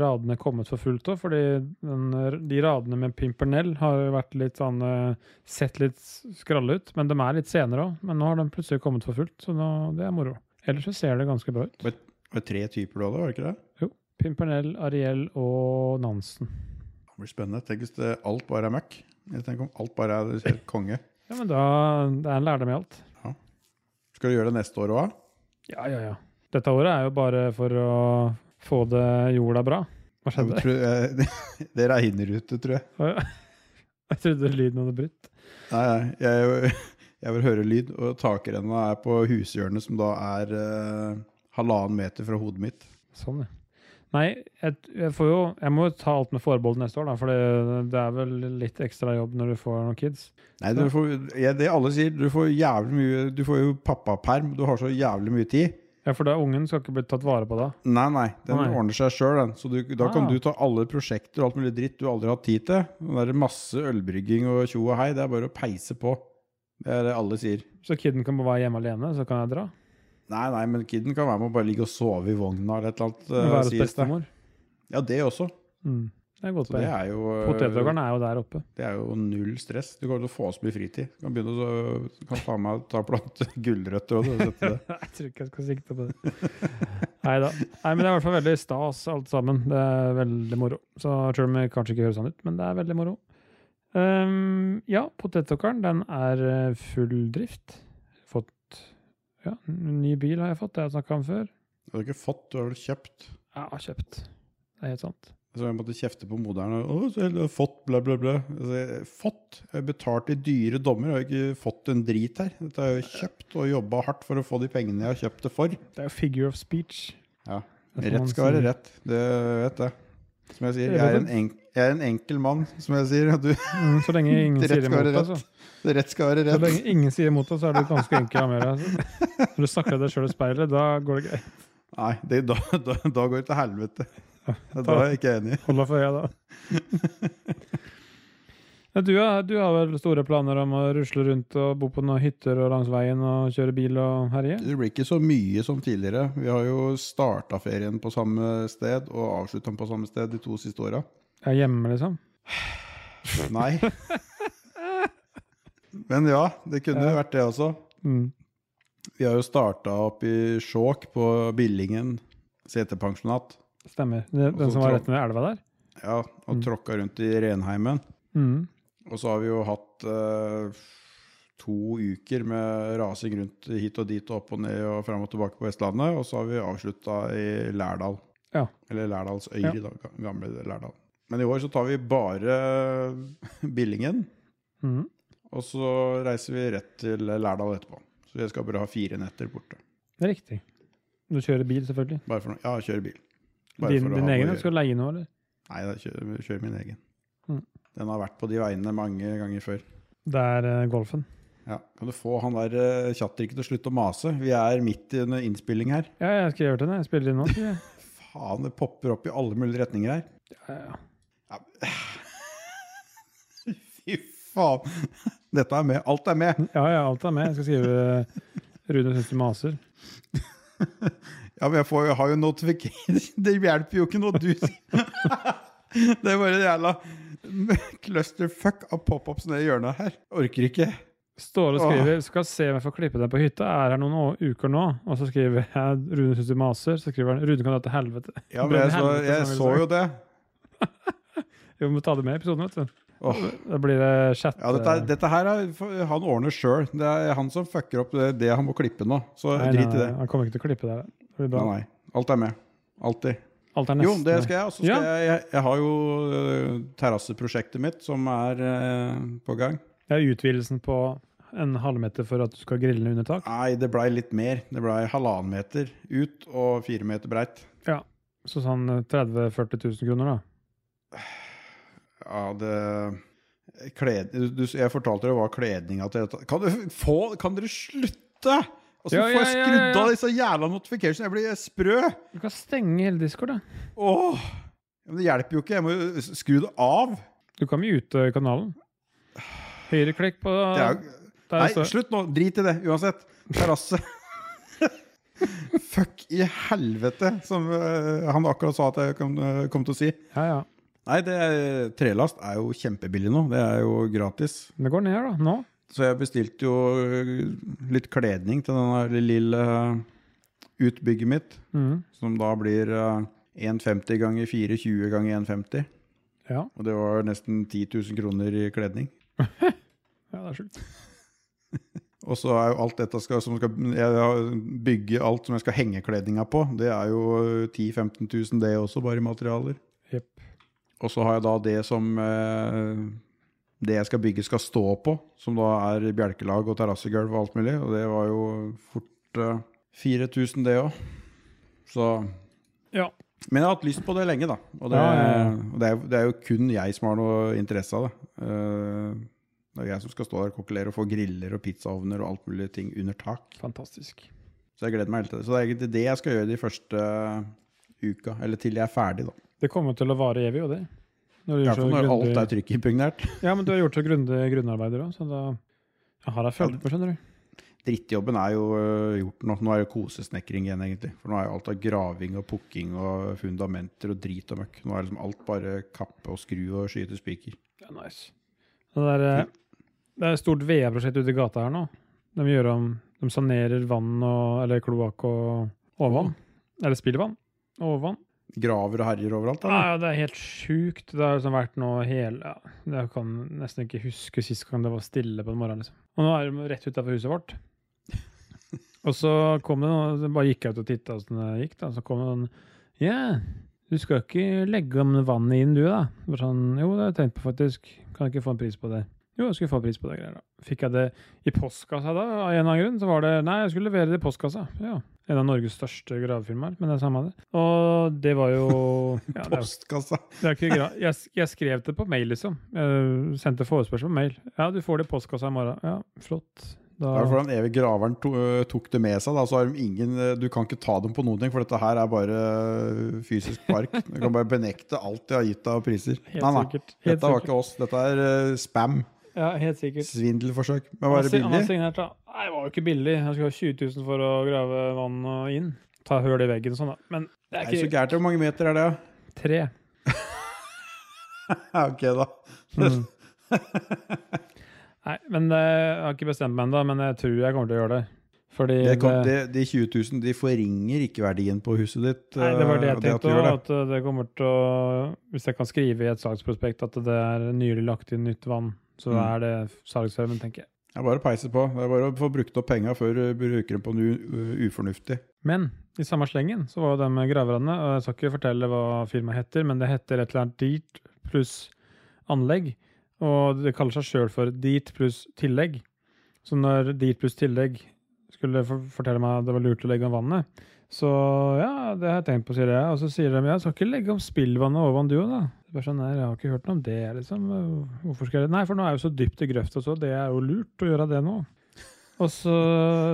Speaker 1: radene kommet for fullt òg, fordi den, de radene med pimpernell har jo vært litt sånn eh, Sett litt skralle ut, men de er litt senere òg. Men nå har de plutselig kommet for fullt, så nå, det er moro. Ellers så ser det ganske bra ut.
Speaker 2: Det var tre typer du hadde, var det ikke det?
Speaker 1: Pimpernell, Ariel og Nansen.
Speaker 2: Det blir spennende. Tenk hvis det, alt bare er møkk. Jeg tenker om alt bare er helt konge.
Speaker 1: Ja, men da Det er en lærdom i alt.
Speaker 2: Skal du gjøre det neste år òg?
Speaker 1: Ja, ja, ja. Dette året er jo bare for å få det jorda bra. Hva skjedde?
Speaker 2: Det, eh, det regner ute, tror jeg.
Speaker 1: Jeg trodde lyden hadde brytt.
Speaker 2: Nei, nei, jeg, jeg vil høre lyd, og takrenna er på hushjørnet, som da er eh, halvannen meter fra hodet mitt.
Speaker 1: Sånn, ja. Nei, jeg, jeg, får jo, jeg må jo ta alt med forbehold neste år, da, for det, det er vel litt ekstra jobb når du får noen kids.
Speaker 2: Nei, du får, jeg, det alle sier, du får jævlig mye Du får jo pappaperm, du har så jævlig mye tid.
Speaker 1: Ja, for da ungen skal ikke bli tatt vare på da.
Speaker 2: Nei, nei, den
Speaker 1: Nei.
Speaker 2: ordner seg sjøl, den. Så du, da kan
Speaker 1: Ah.
Speaker 2: du ta alle prosjekter og alt mulig dritt du aldri har hatt tid til. Det er masse ølbrygging og tjo og hei, det er bare å peise på. Det er det alle sier.
Speaker 1: Så kiden kan bare være hjemme alene, så kan jeg dra.
Speaker 2: Nei, nei, men kiden kan være med og bare ligge og sove i vogna eller et eller annet. eh,
Speaker 1: Være hos
Speaker 2: sies det.
Speaker 1: bestemor.
Speaker 2: Ja, det også.
Speaker 1: Mm. Det er godt
Speaker 2: Så det
Speaker 1: poeng.
Speaker 2: er jo eh,
Speaker 1: Potethuggeren er jo der oppe.
Speaker 2: Det er jo null stress. Du kommer til å få så mye fritid. Du kan begynne å så- kan faen meg ta plante gulrøtter og sette det.
Speaker 1: Jeg tror ikke jeg skal sikte på det. Nei da. Nei, men det er i hvert fall veldig stas, alt sammen. Det er veldig moro. Så selv om det kanskje ikke høres sånn ut, men det er veldig moro. Ehm, ja, potetåkeren, den er eh, full drift. Fått Ja, en ny bil har jeg fått, det har jeg snakka om før.
Speaker 2: Du har ikke fått, du har vel kjøpt.
Speaker 1: Ja, kjøpt. Det er helt sant.
Speaker 2: Så jeg måtte kjefte på moderen. Og, «Å, så heldig, du har fått, bla, bla, bla. Altså, jeg- fått? Jeg har betalt i dyre dommer, og jeg har ikke fått en drit her. Dette har jeg jo kjøpt og jobba hardt for å få de pengene jeg har kjøpt det for.
Speaker 1: Det er jo figure of speech.
Speaker 2: Ja.
Speaker 1: Det er som
Speaker 2: Rett
Speaker 1: man
Speaker 2: skal være
Speaker 1: sier.
Speaker 2: rett. Det vet jeg. Som jeg sier,
Speaker 1: Det er
Speaker 2: jeg er
Speaker 1: vel-
Speaker 2: en, enk jeg er en enkel mann, som jeg sier. og Du,
Speaker 1: Mm, Så lenge ingen
Speaker 2: Rett
Speaker 1: sier
Speaker 2: skal
Speaker 1: imot
Speaker 2: være
Speaker 1: deg, så.
Speaker 2: rett skal være
Speaker 1: Så
Speaker 2: rett.
Speaker 1: lenge ingen sier imot deg, så er du ganske enkel å ha med deg. Altså. Når du snakker til deg sjøl i speilet, da går det greit.
Speaker 2: Nei, det, da, da, da går det til helvete. Da er jeg ikke enig.
Speaker 1: Hold deg for øya, da. Ja, du, ja, du har vel store planer om å rusle rundt og bo på noen hytter og langs veien og kjøre bil og herje?
Speaker 2: Det blir ikke så mye som tidligere. Vi har jo starta ferien på samme sted og avslutta den på samme sted de to siste åra.
Speaker 1: Ja, hjemme, liksom?
Speaker 2: Nei. Men ja, det kunne
Speaker 1: Ja.
Speaker 2: vært det også.
Speaker 1: Mm.
Speaker 2: Vi har jo starta opp i Skjåk, på Billingen setepensjonat.
Speaker 1: Stemmer. Den,
Speaker 2: Og så
Speaker 1: den som var
Speaker 2: tra-
Speaker 1: rett ved elva der?
Speaker 2: Ja, og
Speaker 1: Mm.
Speaker 2: tråkka rundt i renheimen.
Speaker 1: Mm.
Speaker 2: Og så har vi jo hatt eh, to uker med rasing rundt hit og dit og opp og ned og fram og tilbake på Vestlandet. Og så har vi avslutta i Lærdal.
Speaker 1: Ja.
Speaker 2: Eller Lærdalsøyri,
Speaker 1: Ja.
Speaker 2: da. ga- Gamle Lærdal. Men i år så tar vi bare eh, Billingen,
Speaker 1: Mm.
Speaker 2: og så reiser vi rett til Lærdal etterpå. Så jeg skal bare ha fire netter borte.
Speaker 1: Det er riktig. Du kjører bil, selvfølgelig.
Speaker 2: Bare for, ja, kjøre bil. Bare
Speaker 1: Din,
Speaker 2: for å
Speaker 1: din
Speaker 2: ha
Speaker 1: egen?
Speaker 2: noe å
Speaker 1: eller Skal du leie noe, eller?
Speaker 2: gjøre. Nei, jeg kjører, kjører min egen.
Speaker 1: Mm.
Speaker 2: Den har vært på de veiene mange ganger før.
Speaker 1: Det er eh, Golfen.
Speaker 2: Ja, Kan du få han der eh, Tjatrik til å slutte å mase? Vi er midt i en innspilling her.
Speaker 1: Ja, jeg skriver til den. Jeg spiller inn nå. sier jeg.
Speaker 2: Faen, det popper opp i alle mulige retninger her.
Speaker 1: Ja, ja.
Speaker 2: Fy faen! Dette er med. Alt er med.
Speaker 1: Ja, ja, alt er med. Jeg skal skrive eh, Rune syns du maser.
Speaker 2: Ja, men jeg, får, jeg har jo notification Det hjelper jo ikke noe du sier. Det er bare en jævla clusterfuck av pop-ups nede i hjørnet her. Orker ikke.
Speaker 1: Står og skriver 'skal se om jeg får klippe deg på hytta', er her noen å- uker nå. Og så skriver jeg 'Rune syns du maser', så skriver han 'Rune kan dra til helvete'.
Speaker 2: Ja, men jeg så,
Speaker 1: Brenne helvete,
Speaker 2: jeg
Speaker 1: som jeg
Speaker 2: så
Speaker 1: ville
Speaker 2: jo det.
Speaker 1: Vi må ta det med i episoden, vet du.
Speaker 2: Åh.
Speaker 1: Da blir det chat. eh.
Speaker 2: Ja, dette, er- dette her er for- han ordner sjøl. Det er han som fucker opp det, det han må klippe nå. Så
Speaker 1: Nei, nei,
Speaker 2: drit i det.
Speaker 1: nei, Han kommer ikke til å klippe det. Det blir bra.
Speaker 2: Nei, nei. Alt er med. Alltid.
Speaker 1: Alt er nesten
Speaker 2: Jo, det skal jeg. Og så skal
Speaker 1: Ja.
Speaker 2: jeg, jeg Jeg har jo øh, terrasseprosjektet mitt som er øh, på gang.
Speaker 1: Det er utvidelsen på en halvmeter for at du skal grille den under tak.
Speaker 2: Nei, det blei litt mer. Det blei halvannen meter ut og fire meter breit.
Speaker 1: Så sånn eh, 30 000-40 000 kroner, da.
Speaker 2: Ja, det kled, du, Jeg fortalte deg hva kledninga til dette Kan, du få, kan dere slutte?! Og så
Speaker 1: Ja,
Speaker 2: får
Speaker 1: ja,
Speaker 2: jeg
Speaker 1: ja,
Speaker 2: skrudd
Speaker 1: ja, ja.
Speaker 2: av disse jævla notificationene! Jeg blir sprø!
Speaker 1: Du kan stenge hele Discord, da.
Speaker 2: Åh! Ja, Men det hjelper jo ikke. Jeg må jo skru det av.
Speaker 1: Du kan mute kanalen. Høyreklikk på
Speaker 2: Det er jo
Speaker 1: Der
Speaker 2: Nei,
Speaker 1: står-
Speaker 2: slutt nå. Drit i det, uansett. Terrasse. Fuck i helvete, som øh, han akkurat sa at jeg kom, øh, kom til å si.
Speaker 1: Ja, ja.
Speaker 2: Nei, det, trelast er jo kjempebillig nå. Det er jo gratis.
Speaker 1: Det går ned, da. Nå.
Speaker 2: Så jeg bestilte jo øh, litt kledning til denne lille øh, utbygget mitt,
Speaker 1: Mhm.
Speaker 2: som da blir øh, 1,50 ganger 4,20 ganger 1,50.
Speaker 1: Ja.
Speaker 2: Og det var nesten 10 000 kroner i kledning.
Speaker 1: ja, det er sjukt.
Speaker 2: Og så er jo alt dette skal, som skal, jeg har- bygge alt som jeg skal henge kledninga på, det er jo eh, 10 000-15 000 det også, bare i materialer.
Speaker 1: Jepp.
Speaker 2: Og så har jeg da det som eh, det jeg skal bygge skal stå på, som da er bjelkelag og terrassegulv og alt mulig, og det var jo fort eh, 4000 det òg. Så
Speaker 1: Ja.
Speaker 2: Men jeg har hatt lyst på det lenge, da. Og det,
Speaker 1: Ja, ja, ja.
Speaker 2: og det, er, jo- det er jo kun jeg som har noe interesse av det. Eh, det er jeg som skal stå der og kokkelere og få griller og pizzaovner og alt mulig ting under tak.
Speaker 1: Fantastisk.
Speaker 2: Så jeg gleder meg helt til det. Så det er egentlig det jeg skal gjøre de første uka, eller til jeg er ferdig, da.
Speaker 1: Det kommer til å vare evig, og det. Når du
Speaker 2: I
Speaker 1: gjør
Speaker 2: hvert
Speaker 1: så
Speaker 2: fall når
Speaker 1: grundig-
Speaker 2: alt er trykkimpøgnert.
Speaker 1: Ja, men du har gjort så grundig grunnarbeider òg, så da Jeg har deg fulgt med, skjønner du.
Speaker 2: Drittjobben er jo øh, gjort nå. Nå er det kosesnekring igjen, egentlig. For nå er jo alt av graving og pukking og fundamenter og drit og møkk. Nå er liksom alt bare kappe og skru og skyte spiker.
Speaker 1: Ja, nice. Det er, eh,
Speaker 2: Mm.
Speaker 1: det er et stort VE-prosjekt ute i gata her nå. De, gjør om, de sanerer vann og Eller kloakk og overvann. Eller spillvann. Overvann.
Speaker 2: Graver og herjer overalt.
Speaker 1: Ja,
Speaker 2: Da.
Speaker 1: ja, det er helt sjukt. Det har liksom vært nå hele ja, Jeg kan nesten ikke huske sist gang det var stille på morgenen. Liksom. Og nå er de rett utafor huset vårt. Og så kom det noen, så bare gikk jeg ut og titta åssen det gikk, da. Så kom det noen Ja, du skal ikke legge om vannet inn, du, da? Bare sånn Jo, det har jeg tenkt på, faktisk. Kan jeg ikke få en pris på det? Jo, jeg skulle få en pris på det greier, da. Fikk jeg det i postkassa da, av en eller annen grunn? Så var det Nei, jeg skulle levere det i postkassa. Ja. En av Norges største gravefirmaer, men det er samme det. Og det var jo ja, det er jo-
Speaker 2: Postkassa.
Speaker 1: det er ikke gra jeg, jeg skrev det på mail, liksom. Jeg sendte forespørsel på mail. Ja, du får det i postkassa i morgen. Ja, flott. Da,
Speaker 2: Det er fordi den evige graveren to, øh, tok det med seg. Da, så har de ingen, øh, du kan ikke ta dem på noen ting, for dette her er bare øh, fysisk park. Du kan bare benekte alt de har gitt av priser.
Speaker 1: Helt
Speaker 2: nei, nei.
Speaker 1: sikkert. Helt
Speaker 2: Dette var
Speaker 1: sikkert.
Speaker 2: ikke oss. Dette er øh, spam.
Speaker 1: Ja, helt sikkert.
Speaker 2: Svindelforsøk. Men
Speaker 1: Han
Speaker 2: var
Speaker 1: har
Speaker 2: det
Speaker 1: si- han har
Speaker 2: billig?
Speaker 1: signert, da. Nei, det var jo ikke billig. Jeg skulle ha 20 000 for å grave vann og inn. Ta hull i veggen og sånn, da. Men det
Speaker 2: Det
Speaker 1: er
Speaker 2: er ikke så
Speaker 1: ikke
Speaker 2: gærent. Hvor mange meter er det?
Speaker 1: tre.
Speaker 2: Ja, ok, da.
Speaker 1: Mm. Nei, men eh, jeg har ikke bestemt meg ennå, men jeg tror jeg kommer til å gjøre det. Fordi
Speaker 2: Det kom,
Speaker 1: det-
Speaker 2: de, de 20 000 de forringer ikke verdien på huset ditt.
Speaker 1: Nei, det var det jeg
Speaker 2: øh, at du
Speaker 1: tenkte
Speaker 2: gjør
Speaker 1: òg.
Speaker 2: det.
Speaker 1: At uh, det kommer til å Hvis jeg kan skrive i et salgsprospekt at det er nylig lagt inn nytt vann, så
Speaker 2: Mm.
Speaker 1: er det salgsserven, tenker jeg.
Speaker 2: Det er bare å peise på. Det er bare å få brukt opp penga før du bruker dem på noe øh, ufornuftig.
Speaker 1: Men i samme slengen så var jo de graverne Og jeg skal ikke fortelle hva firmaet heter, men det heter et eller annet Deet pluss anlegg. Og det kaller seg sjøl for Deet pluss tillegg. Så når Deet pluss tillegg skulle for fortelle meg at det var lurt å legge om vannet, så ja, det har jeg tenkt på, sier jeg. Og så sier de ja, skal ikke legge om spillvannet ovan du, da. Det er Bare sånn, nei, jeg har ikke hørt noe om det, liksom. Hvorfor skal jeg Nei, for nå er jeg jo så dypt i grøfta, så det er jo lurt å gjøre det nå. Og så,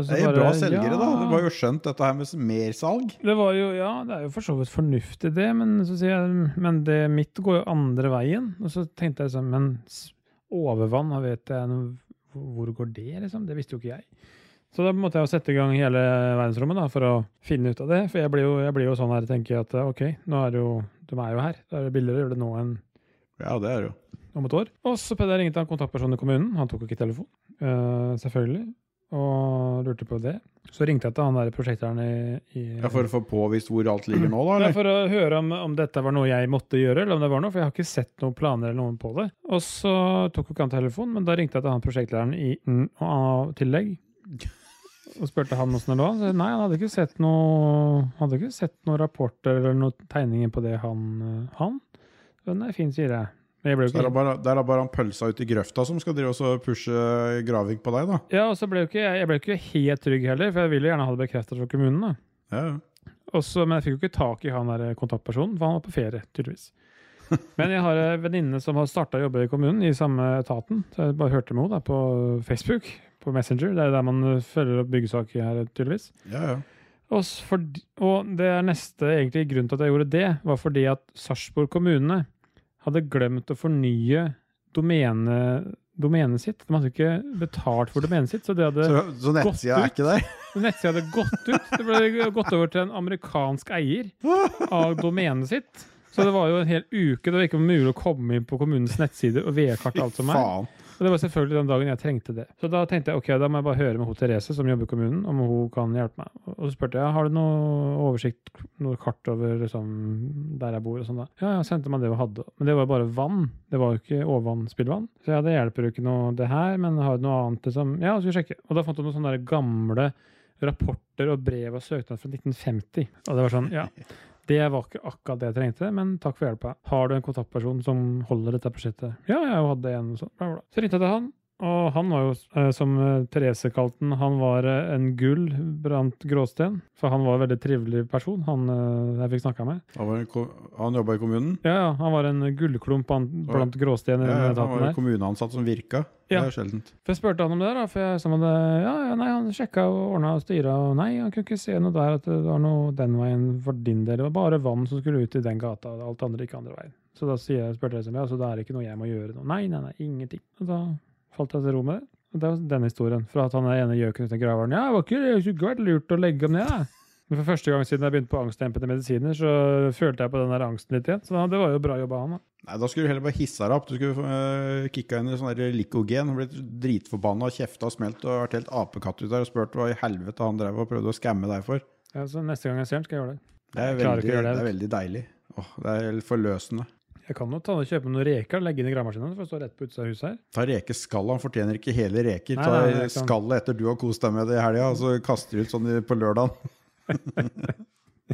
Speaker 1: så
Speaker 2: Det er
Speaker 1: bare,
Speaker 2: bra selgere,
Speaker 1: ja.
Speaker 2: da. Det var jo skjønt, dette her med mersalg.
Speaker 1: Det var jo, ja, det er jo for så vidt fornuftig det, men så sier jeg, men det mitt går jo andre veien. Og så tenkte jeg sånn, men s- overvann, da vet jeg noe, hvor går det liksom? Det visste jo ikke jeg. Så da måtte jeg jo sette i gang hele verdensrommet da, for å finne ut av det. For jeg blir jo, jeg blir jo sånn her, tenker jeg at ok, nå er det jo, de er jo her. Da er det billigere å gjøre det nå enn
Speaker 2: Ja, det er jo.
Speaker 1: om et år. Og så prøvde jeg å ringe til en kontaktperson i kommunen. Han tok jo ikke telefon, eh, selvfølgelig, og lurte på det. Så ringte jeg til han der prosjekteren i, i
Speaker 2: Ja, For å få påvist hvor alt ligger nå, da?
Speaker 1: det er
Speaker 2: Eller?
Speaker 1: for å høre om, om dette var noe jeg måtte gjøre, eller om det var noe, for jeg har ikke sett noen planer eller noen på det. Og så tok jo ikke han telefonen, men da ringte jeg til han prosjektlederen i N og A tillegg. Og spurte han åssen det lå. Så nei, han hadde ikke sett noe han hadde ikke sett noen rapporter eller noen tegninger på det han, øh, han. Så nei, fint, sier jeg. Men jeg ble jo
Speaker 2: Det er da
Speaker 1: ikke
Speaker 2: bare, det er da bare han pølsa ute i grøfta som skal drive og så pushe graving på deg, da.
Speaker 1: Ja, og så ble jo ikke jeg, jeg ble jo ikke helt trygg heller, for jeg ville gjerne ha det bekreftet fra kommunen. da.
Speaker 2: Ja, ja.
Speaker 1: Og så- men jeg fikk jo ikke tak i han der eh, kontaktpersonen, for han var på ferie, tydeligvis. Men jeg har en venninne som har starta å jobbe i kommunen, i samme etaten. Så jeg bare hørte med henne da, på Facebook, på Messenger. Det er der man eh, følger opp byggesaker her, tydeligvis.
Speaker 2: ja, ja.
Speaker 1: Og, s- for, og det er neste egentlig grunn til at jeg gjorde det, var fordi at Sarpsborg kommune hadde glemt å fornye domene, domenet sitt. De hadde ikke betalt for domenet sitt, så det hadde
Speaker 2: Så, så nettsida er
Speaker 1: Gått
Speaker 2: ikke der?
Speaker 1: Nettsida hadde gått ut. Det ble gått over til en amerikansk eier av domenet sitt. Så det var jo en hel uke. Det var ikke mulig å komme inn på kommunens nettsider og vedkarte alt som er.
Speaker 2: Faen.
Speaker 1: Og det var selvfølgelig den dagen jeg trengte det. Så da tenkte jeg ok, da må jeg bare høre med hun Therese som jobber i kommunen, om hun kan hjelpe meg. Og så spurte jeg har du noe oversikt, noe kart over liksom, der jeg bor og sånn da. Ja, jeg sendte meg det hun hadde. Men det var jo bare vann. Det var jo ikke overvann, spillvann. Så ja, det hjelper jo ikke noe det her, men har du noe annet liksom? Ja, så skal vi sjekke. Og da fant hun noen sånne der gamle rapporter og brev og søknader fra 1950. Og det var sånn, ja. Det var ikke akkurat det jeg trengte, men takk for hjelpa. Har du en kontaktperson som holder dette prosjektet? Ja, jeg hadde en. og Så, bla, bla. så ringte jeg til han, og han var jo, eh, som eh, Therese kalte han, han var eh, en gull blant gråsten. For han var en veldig trivelig person, han eh, jeg fikk snakka med.
Speaker 2: Han, var en ko- han jobba i kommunen?
Speaker 1: Ja, ja, han var en gullklump an- blant gråsten i
Speaker 2: Ja,
Speaker 1: den
Speaker 2: han
Speaker 1: etaten
Speaker 2: var
Speaker 1: der.
Speaker 2: en kommuneansatt som virka?
Speaker 1: Ja.
Speaker 2: Det er sjeldent.
Speaker 1: For jeg spurte han om det, da, for jeg sa han hadde, ja, ja, nei, han sjekka og ordna og styra, og nei, han kunne ikke se noe der at det var noe den veien for din del. Det var bare vann som skulle ut i den gata, og alt andre gikk andre veien. Så da sier jeg, spurte jeg liksom, ja, så det er ikke noe jeg må gjøre nå. Nei, nei, nei, ingenting. Og da falt jeg til ro med det. Og det var den historien, fra at han er ene gjøken uten graveren. Ja, det var ikke, det skulle ikke vært lurt å legge ham ned, da. Men for første gang siden jeg begynte på angstdempende medisiner, så følte jeg på den der angsten litt igjen. Så da- det var jo bra jobba, han. da.
Speaker 2: Nei, Da skulle du heller bare hissa deg opp. Du skulle uh, kicka inn i sånn der likogen, blitt dritforbanna, kjefta og smelt og vært helt apekatt ut der og spurt hva i helvete han drev og prøvde å skamme deg for.
Speaker 1: Ja, så neste gang jeg ser han, skal jeg gjøre det.
Speaker 2: Det er
Speaker 1: Jeg klarer ikke
Speaker 2: veldig,
Speaker 1: å gjøre
Speaker 2: det
Speaker 1: det.
Speaker 2: er veldig deilig. Åh, det er helt forløsende.
Speaker 1: Jeg kan jo ta og kjøpe noen reker og legge inn i gravemaskinen, for det står rett på utsida av huset her.
Speaker 2: Ta rekeskall, han fortjener ikke hele reker.
Speaker 1: Nei,
Speaker 2: Ta
Speaker 1: nei, det er sant.
Speaker 2: skallet etter du har kost deg med det i helga, og så kaster du ut sånn i- på lørdagen.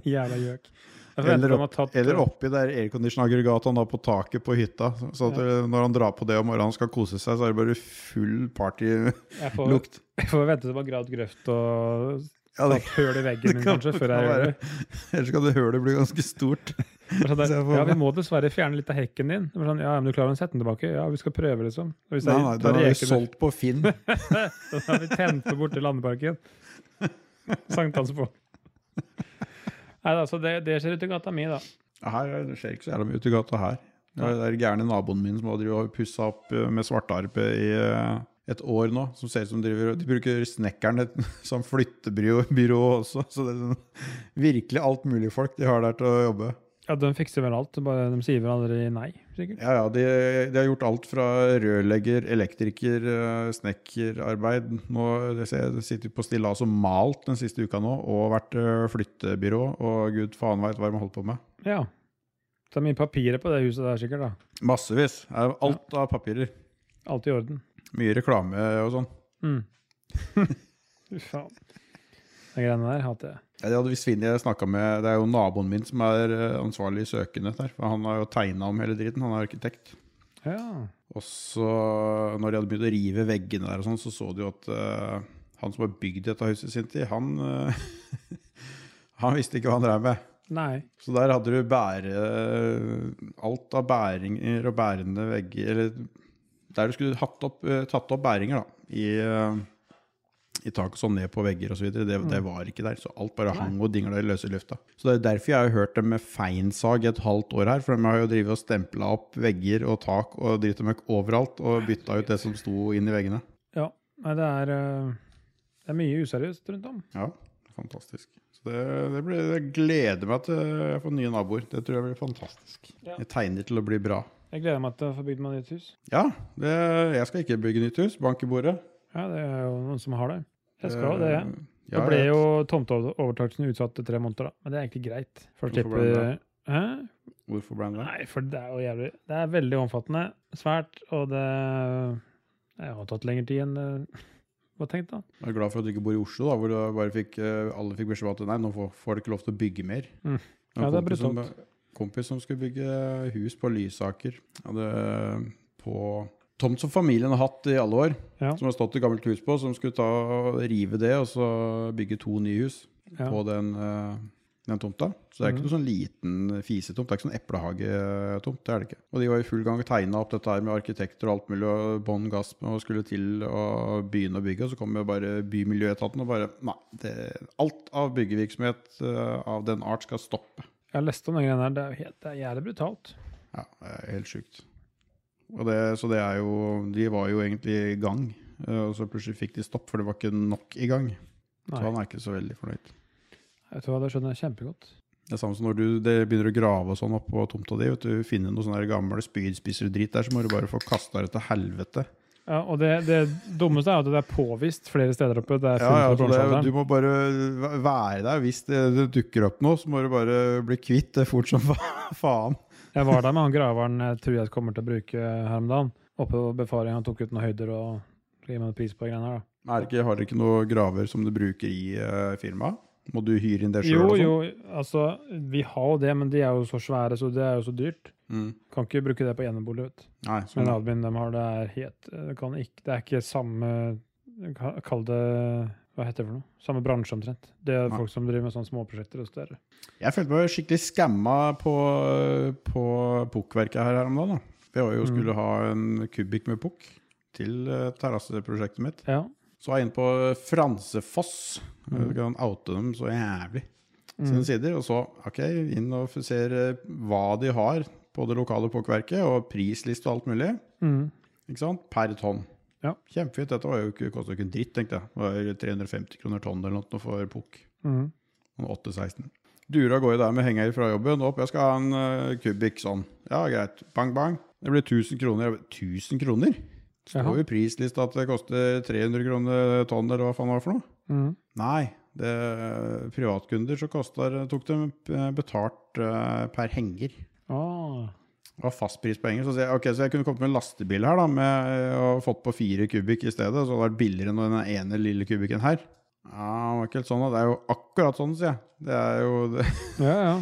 Speaker 1: Jævla gjøk. Jeg forventer
Speaker 2: Eller,
Speaker 1: de har
Speaker 2: opp,
Speaker 1: tatt-
Speaker 2: eller oppi der aircondition-aggregatet han har på taket på hytta. Så at det- når han drar på det om morgenen og skal kose seg, så er det bare full partylukt.
Speaker 1: Jeg får, jeg får vente til de har gravd grøft og
Speaker 2: Ja, det,
Speaker 1: tatt høl i veggen min, kanskje, før jeg gjør det.
Speaker 2: Ellers kan det hølet bli ganske stort.
Speaker 1: Det er Sånn
Speaker 2: Så
Speaker 1: der,
Speaker 2: jeg får-
Speaker 1: ja, vi må dessverre fjerne litt av hekken din. Det er Sånn, ja, men du klarer å sette den tilbake? Ja, vi skal prøve, liksom. Og hvis
Speaker 2: Nei, nei,
Speaker 1: jeg
Speaker 2: den
Speaker 1: tar
Speaker 2: har vi
Speaker 1: reker-
Speaker 2: solgt på Finn.
Speaker 1: Den har vi tent på borte i landeparken. Sankthansbål. Nei da, så det, det skjer ute i gata mi, da.
Speaker 2: Her er- det skjer ikke så jævla mye ute i gata her. Det er den gærne naboen min som har pussa opp eh, med svartarpe i eh, et år nå. Som ser ut som driver, De bruker snekkeren et- som flyttebyrå byrå også. Så det er sånn, virkelig alt mulig folk de har der til å jobbe.
Speaker 1: Ja, De fikser vel alt, bare de sier vel aldri nei, sikkert.
Speaker 2: Ja, ja, de, de har gjort alt fra rørlegger, elektriker, eh, snekkerarbeid Nå det ser jeg, det sitter på stillas og malt den siste uka nå, og vært eh, flyttebyrå. Og gud faen veit hva de holder på med.
Speaker 1: Ja. Så det er mye papirer på det huset der, sikkert. da.
Speaker 2: Massevis. Det er Alt av papirer.
Speaker 1: Alt i orden.
Speaker 2: Mye reklame og sånn.
Speaker 1: Mm. Fy faen. De greiene der hater jeg.
Speaker 2: Ja, det hadde visstnok jeg snakket med Det er jo naboen min som er eh, ansvarlig søkende der. For han har jo tegna om hele dritten. Han er arkitekt.
Speaker 1: Ja.
Speaker 2: Og så, når de hadde begynt å rive veggene der og sånn, så så de jo at eh, han som har bygd dette huset i sin tid, han eh, Han visste ikke hva han drev med.
Speaker 1: Nei.
Speaker 2: Så der hadde du bære Alt av bæringer og bærende vegger Eller der du skulle hatt opp, eh, tatt opp bæringer, da. I, eh, i tak og sånn ned på vegger osv. Det, det var ikke der. Så alt bare hang og dingla i løse lufta. Så det er derfor jeg har hørt dem med feinsag et halvt år her. For de har jo drevet og stempla opp vegger og tak og dritt og møkk overalt. Og bytta ut det som sto inn i veggene.
Speaker 1: Ja. Nei, det er eh, Det er mye useriøst rundt om.
Speaker 2: Ja, fantastisk. Så det, det blir, jeg gleder meg til jeg får nye naboer. Det tror jeg blir fantastisk.
Speaker 1: Ja.
Speaker 2: Jeg tegner til å bli bra.
Speaker 1: Jeg gleder meg til å få bygd meg nytt hus.
Speaker 2: Ja, det, jeg skal ikke bygge nytt hus. Bank i bordet.
Speaker 1: Ja, det er jo noen som har det. Jeg skal det, jeg.
Speaker 2: Eh, Ja,
Speaker 1: da ble
Speaker 2: jeg-
Speaker 1: jo tomteovertakelsen utsatt til tre måneder, da. Men det er egentlig greit. For
Speaker 2: Hvorfor ble den
Speaker 1: slipper Hæ?
Speaker 2: Hvorfor ble den det?
Speaker 1: Nei, for det er jo jævlig Det er veldig omfattende. Svært. Og det Det har tatt lengre tid enn eh, det var tenkt, da.
Speaker 2: Jeg er glad for at du ikke bor i Oslo, da, hvor du bare fikk, eh, alle fikk beskjed om at nei, nå får, får du ikke lov til å bygge mer.
Speaker 1: Mm.
Speaker 2: En
Speaker 1: Ja, det er
Speaker 2: kompis som-
Speaker 1: brutalt.
Speaker 2: Kompis som skulle bygge hus på Lysaker. Hadde på tomt som familien har hatt i alle år.
Speaker 1: Ja.
Speaker 2: Som har stått et gammelt hus på, som skulle ta og rive det og så bygge to nye hus.
Speaker 1: Ja. Mm.
Speaker 2: på den, eh, den tomta. Så det er ikke noe sånn liten fisetomt. Det er ikke sånn eplehagetomt. det er det ikke. Og de var i full gang og tegna opp dette her med arkitekter og alt mulig, og bånn gass med og skulle til å begynne å bygge. Og så kom jo bare Bymiljøetaten og bare Nei, det, alt av byggevirksomhet eh, av den art skal stoppe.
Speaker 1: Jeg leste om den greia der. Det er, jo helt, det er jævlig brutalt.
Speaker 2: Ja, det er helt sjukt. Og det, så det er jo De var jo egentlig i gang, eh, og så plutselig fikk de stopp, for det var ikke nok i gang. Så
Speaker 1: Nei.
Speaker 2: han er ikke så veldig fornøyd.
Speaker 1: Vet du hva, det skjønner jeg kjempegodt.
Speaker 2: Det er samme som når du det begynner å grave og sånn opp på tomta di. Vet du finner noen sånne der gamle spydspisser og drit der, så må du bare få kasta det til helvete.
Speaker 1: Ja, og det, det dummeste er at det er påvist flere steder oppe. Det er
Speaker 2: Ja,
Speaker 1: funnet fra
Speaker 2: ja, så det, du
Speaker 1: bronsealderen.
Speaker 2: må bare væ- være der. Hvis det, det dukker opp noe, så må du bare bli kvitt det fort som fa- faen.
Speaker 1: Jeg var der med han graveren jeg tror jeg kommer til å bruke eh, her om dagen. Oppe på befaring. Han tok ut noen høyder og ga meg pris på greiene her, da.
Speaker 2: Er det ikke, har dere ikke noe graver som du bruker i eh, firmaet? Må du hyre inn det sånn? sjøl?
Speaker 1: Jo, jo, altså, vi har jo det, men de er jo så svære, så det er jo så dyrt.
Speaker 2: Mm.
Speaker 1: Kan ikke bruke det på enebolig, vet du.
Speaker 2: Nei,
Speaker 1: Men
Speaker 2: sånn.
Speaker 1: admin de har, det er helt det kan ikke, Det er ikke samme ka- Kall det Hva heter det for noe? Samme bransje, omtrent. Det er
Speaker 2: Nei.
Speaker 1: folk som driver med sånne småprosjekter og større.
Speaker 2: Jeg følte meg skikkelig skamma på, på pukkverket her, her om dagen. Da. Vi var jo skulle ha en kubikk med pukk til eh, terrasseprosjektet mitt.
Speaker 1: Ja.
Speaker 2: Så var jeg inne på Fransefoss. Jeg kan oute dem så jævlig.
Speaker 1: Mm.
Speaker 2: Sine sider, og så ok, inn og ser eh, hva de har på det lokale pokkerverket, og prisliste og alt mulig.
Speaker 1: Mm.
Speaker 2: ikke sant, Per tonn.
Speaker 1: Ja.
Speaker 2: Kjempefint. Dette var jo ikke, kostet jo ikke en dritt, tenkte jeg. Det var 350 kroner tonn eller noe for pukk.
Speaker 1: Mm.
Speaker 2: Han var 8-16. Dura går jo der med henger fra jobben. Opp, jeg skal ha en eh, kubikk sånn. Ja, greit. Bang, bang. Det blir 1000 kroner. Jeg bare, 1000 kroner?
Speaker 1: Jaha.
Speaker 2: Står jo i prislista at det koster 300 kroner tonn, eller hva faen det var for noe?
Speaker 1: Mm.
Speaker 2: Nei. Det, privatkunder så koster, tok de eh, betalt eh, per henger.
Speaker 1: Ah.
Speaker 2: Det var fastprispenger. Så, sier jeg, ok, så jeg kunne kommet med en lastebil her da, med, eh, og fått på fire kubikk i stedet. Så det hadde vært billigere enn den ene lille kubikken her. Ja, det var ikke helt sånn. da. Det er jo akkurat sånn, sier jeg. Det er jo det.
Speaker 1: Ja, ja.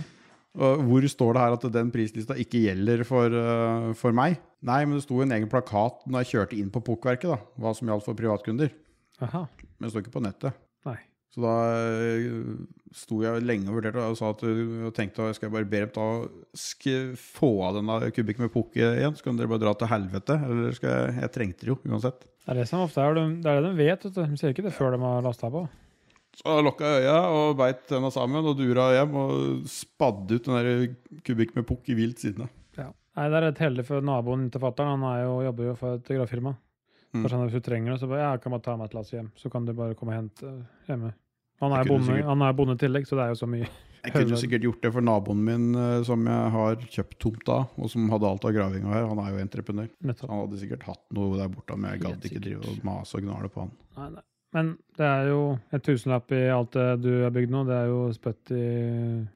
Speaker 2: Og hvor står det her at den prislista ikke gjelder for, eh, for meg? Nei, men det sto en egen plakat når jeg kjørte inn på pukkverket, da, hva som gjaldt for privatkunder.
Speaker 1: Aha.
Speaker 2: Men det står ikke på nettet.
Speaker 1: Nei.
Speaker 2: Så da eh, sto jeg lenge og vurderte og sa at eh, og tenkte at jeg skal bare be dem ta sk- få av denne kubikken med pukk igjen, så kan dere bare dra til helvete. Eller skal jeg, jeg trengte det jo uansett.
Speaker 1: Det er det som ofte er, de- det er det de vet. Vet du. De ser ikke det før de har lasta på.
Speaker 2: Så jeg lokka øya og beit tenna sammen og dura hjem og spadde ut den der kubikken med pukk i vilt sinne.
Speaker 1: Ja. Nei, det er et heldig for naboen til fatter'n. Han er jo, jobber jo for et gravfirma.
Speaker 2: Mm.
Speaker 1: Så han, hvis du trenger det, så bare, ja, jeg kan bare ta med et lass hjem. Så kan du bare komme og hente eh, hjemme. Han
Speaker 2: Jeg
Speaker 1: er,
Speaker 2: kunne
Speaker 1: bonde,
Speaker 2: sikkert-
Speaker 1: han er bonde i tillegg, så det er jo så mye.
Speaker 2: Jeg kunne jo
Speaker 1: Høyland.
Speaker 2: sikkert gjort det for naboen min eh, som jeg har kjøpt tomt av, og som hadde alt av gravinga her. Han er jo entreprenør.
Speaker 1: Nettopp.
Speaker 2: Han hadde sikkert hatt noe der borte, men jeg
Speaker 1: Helt
Speaker 2: gadd ikke
Speaker 1: sikkert.
Speaker 2: drive og mase og gnale på han.
Speaker 1: Nei, nei. Men det er jo en tusenlapp i alt det du har bygd nå. Det er jo spytt i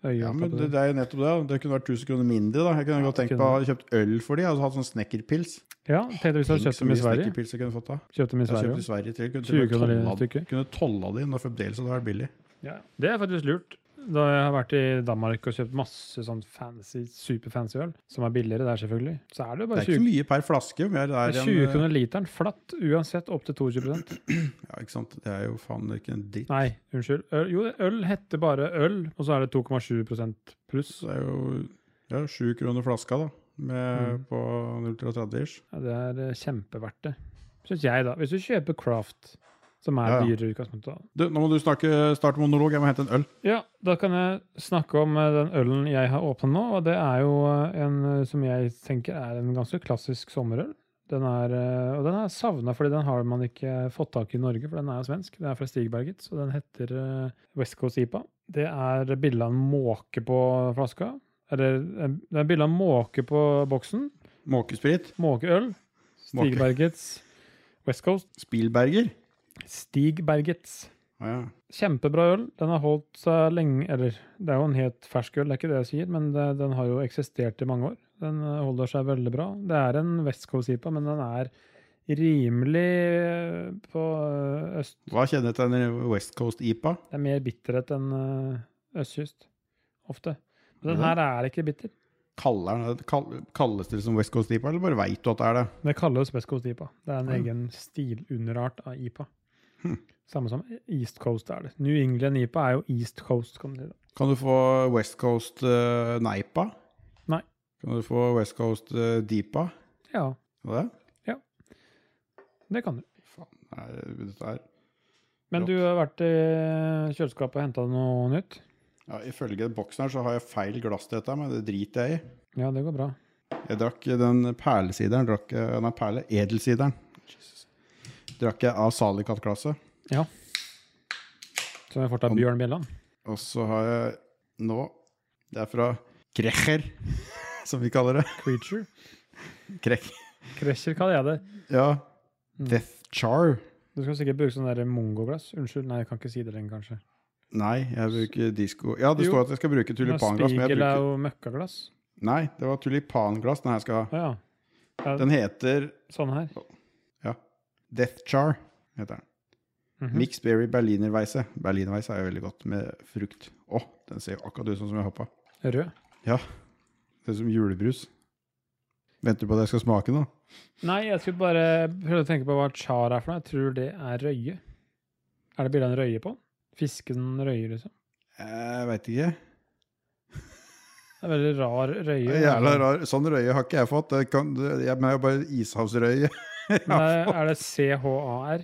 Speaker 1: øyet.
Speaker 2: Ja, men det, det er jo nettopp det. da. Det kunne vært 1000 kroner mindre. da. Jeg kunne
Speaker 1: Ja,
Speaker 2: godt tenkt
Speaker 1: kunne
Speaker 2: meg å ha kjøpt øl for de, altså hatt sånn snekkerpils.
Speaker 1: ja, tenkte hvis du hadde
Speaker 2: Tenk
Speaker 1: kjøpt
Speaker 2: så
Speaker 1: dem i
Speaker 2: mye
Speaker 1: Sverige.
Speaker 2: snekkerpils jeg kunne fått da.
Speaker 1: Kjøpt dem i
Speaker 2: Jeg har
Speaker 1: Sverige
Speaker 2: kjøpt i
Speaker 1: også.
Speaker 2: Sverige til. Kunne
Speaker 1: 20
Speaker 2: til og
Speaker 1: kroner i
Speaker 2: med tolla-
Speaker 1: stykket.
Speaker 2: kunne tolla de inn, og fremdeles hadde det vært billig.
Speaker 1: Ja, det er faktisk lurt. Da jeg har vært i Danmark og kjøpt masse sånn fancy, superfancy øl, som er billigere der selvfølgelig, så er det jo
Speaker 2: Det
Speaker 1: bare
Speaker 2: er ikke
Speaker 1: 20,
Speaker 2: mye per flaske. Men det
Speaker 1: det
Speaker 2: er
Speaker 1: er
Speaker 2: en,
Speaker 1: 20
Speaker 2: eh,
Speaker 1: kroner literen flatt, uansett opp til 22
Speaker 2: Ja, ikke sant? Det er jo faen ikke en dritt.
Speaker 1: Nei, unnskyld. Øl, jo, øl heter bare øl, og så er det 2,7 pluss.
Speaker 2: Så det er jo ja, 7 kroner flaska da,
Speaker 1: Mm.
Speaker 2: med, på 0,30-ish.
Speaker 1: Ja, det er eh, kjempeverdt det, syns jeg, da. Hvis du kjøper Craft, som er
Speaker 2: Ja, ja.
Speaker 1: dyrere i utgangspunktet, da.
Speaker 2: Du, nå må du snakke, starte monolog. Jeg må hente en øl.
Speaker 1: Ja, da kan jeg snakke om eh, den ølen jeg har åpna nå. Og det er jo eh, en eh, som jeg tenker er en ganske klassisk sommerøl. Den er, eh, og den er savna, fordi den har man ikke fått tak i i Norge, for den er jo svensk. Den er fra Stigberget, så den heter eh, West Coast IPA. Det er bilde av en måke på flaska. Eller eh, det er bilde av en måke på boksen.
Speaker 2: Måkesprit.
Speaker 1: Måkeøl.
Speaker 2: Måke.
Speaker 1: Stigbergets West Coast.
Speaker 2: Spielberger.
Speaker 1: Stigbergets.
Speaker 2: Ah, ja.
Speaker 1: Kjempebra øl. Den har holdt seg lenge Eller, det er jo en helt fersk øl, det er ikke det jeg sier, men det, den har jo eksistert i mange år. Den eh, holder seg veldig bra. Det er en West Coast IPA, men den er rimelig eh, på eh, øst...
Speaker 2: Hva kjennetegner West Coast IPA?
Speaker 1: Det er mer bitterhet enn eh, østkyst, ofte. Men den
Speaker 2: Ja.
Speaker 1: her er ikke bitter.
Speaker 2: Kaller, den det- kall- kalles det som West Coast IPA, eller bare veit du at det er det?
Speaker 1: Det kalles West Coast IPA. Det er en
Speaker 2: Ja.
Speaker 1: egen stilunderart av IPA.
Speaker 2: Hm.
Speaker 1: Samme som East Coast er det. New England IPA er jo East Coast, kan man si. da.
Speaker 2: Kan du få West Coast eh, Neipa?
Speaker 1: Nei.
Speaker 2: Kan du få West Coast eh, Deepa?
Speaker 1: Ja,
Speaker 2: Hva er det?
Speaker 1: det kan du.
Speaker 2: Nei, dette er
Speaker 1: Men du har vært i kjøleskapet og henta noe nytt?
Speaker 2: ja, Ifølge boksen her så har jeg feil glass til dette, men det driter jeg i.
Speaker 1: Ja, det går bra.
Speaker 2: Jeg drakk den perlesideren, drakk, eh, nei, perle, edelsideren. Drakk jeg av Salicat-glasset.
Speaker 1: Ja. Som jeg får ta
Speaker 2: Om-
Speaker 1: Bjørn Bjelland?
Speaker 2: Og så har jeg nå Det er fra Krecher, som vi kaller det.
Speaker 1: Creature?
Speaker 2: Krek.
Speaker 1: Krescher kaller jeg det.
Speaker 2: Ja.
Speaker 1: Mm.
Speaker 2: Death Char.
Speaker 1: Du skal sikkert bruke sånn der mongoglass. Unnskyld, nei, jeg kan ikke si det lenger, kanskje.
Speaker 2: Nei, jeg bruker disko... Ja, det
Speaker 1: Jo.
Speaker 2: står at jeg skal bruke tulipanglass, men jeg
Speaker 1: Spigel er
Speaker 2: bruker
Speaker 1: jo møkkaglass.
Speaker 2: Nei, det var tulipanglass den her skal ha.
Speaker 1: Å ja. ja
Speaker 2: Den heter
Speaker 1: sånn her.
Speaker 2: Death Char. heter den.
Speaker 1: Mhm.
Speaker 2: Mixed berry berlinerweisse. Berlinerweisse er jo veldig godt med frukt. Å, den ser jo akkurat ut sånn som jeg hoppa.
Speaker 1: Rød.
Speaker 2: Det er som julebrus. Venter du på at jeg skal smake nå?
Speaker 1: Nei, jeg skulle bare prøve å tenke på hva char er for noe. Jeg tror det er røye. Er det bilde av en røye på? Fisken røye, liksom.
Speaker 2: Jeg veit ikke.
Speaker 1: Det er veldig rar røye.
Speaker 2: Det er Jævla rar. Sånn røye har ikke jeg fått. Det kan, det, jeg men jeg har bare ishavsrøye.
Speaker 1: Men er, er det CHAR?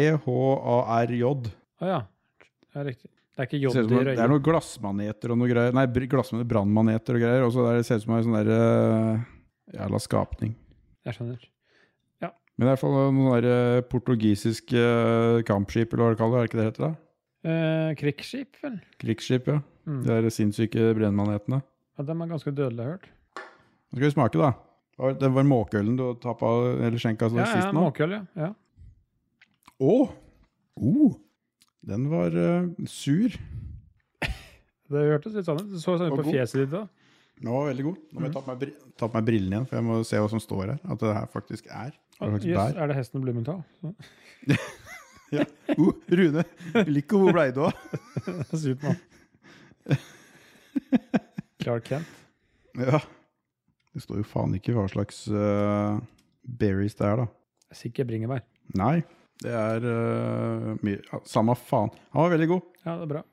Speaker 2: C-H-A-R-J.
Speaker 1: Å ja. ja. Riktig. Det er ikke
Speaker 2: Det ser ut
Speaker 1: jod
Speaker 2: som
Speaker 1: i
Speaker 2: en- det
Speaker 1: røye.
Speaker 2: er noen glassmaneter og noe greier. Nei, br- glassmaneter, brannmaneter og greier. Og så er det- ser det ut som en sånn derre jævla skapning.
Speaker 1: Jeg skjønner.
Speaker 2: Men det er i hvert fall noen sånne portugisiske eh, kampskip, eller hva det kaller det. Er det ikke det heter? da?
Speaker 1: Eh, krigsskip, vel?
Speaker 2: Krigsskip, ja.
Speaker 1: Mm.
Speaker 2: De der sinnssyke brennmanetene.
Speaker 1: Ja, de er ganske dødelige, har jeg hørt.
Speaker 2: Nå skal vi smake, da. Hva var- Det var måkeølen du tappa, eller skjenka
Speaker 1: Ja,
Speaker 2: sist
Speaker 1: ja,
Speaker 2: nå?
Speaker 1: måkeøl, ja. ja.
Speaker 2: Å! Oh. Den var eh, sur.
Speaker 1: Det hørtes litt sånn ut. Det så sånn ut
Speaker 2: Og
Speaker 1: på
Speaker 2: god.
Speaker 1: fjeset ditt òg.
Speaker 2: Den var veldig god. Nå må jeg ta på meg, bri- Mm. ta på meg brillene igjen, for jeg må se hva som står her. At det her faktisk er.
Speaker 1: Ah,
Speaker 2: Hva slags
Speaker 1: Jøss,
Speaker 2: bær.
Speaker 1: er det hesten Blumenthal? Ja.
Speaker 2: Ja. Oh, Rune, Lico, hvor blei du av?
Speaker 1: Supermann. Clark Kent.
Speaker 2: Ja. Det står jo faen ikke hva slags eh, berries det er, da.
Speaker 1: Det er Sikkert bringebær.
Speaker 2: Nei, det er eh, mye ja, Samme faen. Han var veldig god.
Speaker 1: Ja, det er bra.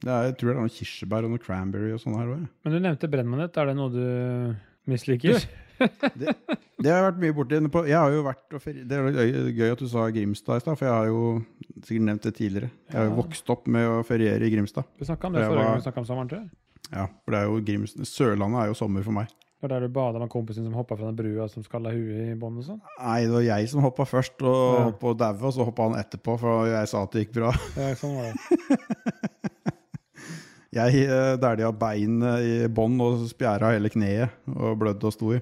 Speaker 2: Det er, jeg tror det er noe kirsebær og noe cranberry og sånn her òg.
Speaker 1: Men du nevnte brennmanett. Er det noe du misliker?
Speaker 2: Det har jeg vært mye borti. på- Jeg har jo vært og feri... Det er jo gøy at du sa Grimstad i stad, for jeg har jo sikkert nevnt det tidligere. Jeg har jo
Speaker 1: Ja.
Speaker 2: vokst opp med å feriere i Grimstad.
Speaker 1: Vi snakka om det
Speaker 2: Det
Speaker 1: forrige
Speaker 2: var-
Speaker 1: gang vi snakka om sommeren, tror jeg.
Speaker 2: Ja, for det er jo Grimstad Sørlandet er jo sommer for meg.
Speaker 1: Det var der du bada med kompisen som hoppa fra den brua som skalla huet i bånn og sånn?
Speaker 2: Nei, det var jeg som hoppa først, og
Speaker 1: Ja.
Speaker 2: hoppa og daua, og så hoppa han etterpå, for jeg sa at det gikk bra.
Speaker 1: Ja, sånn var det.
Speaker 2: Jeg eh, dælja beinet i bånn og spjæra hele kneet og blødde og sto i.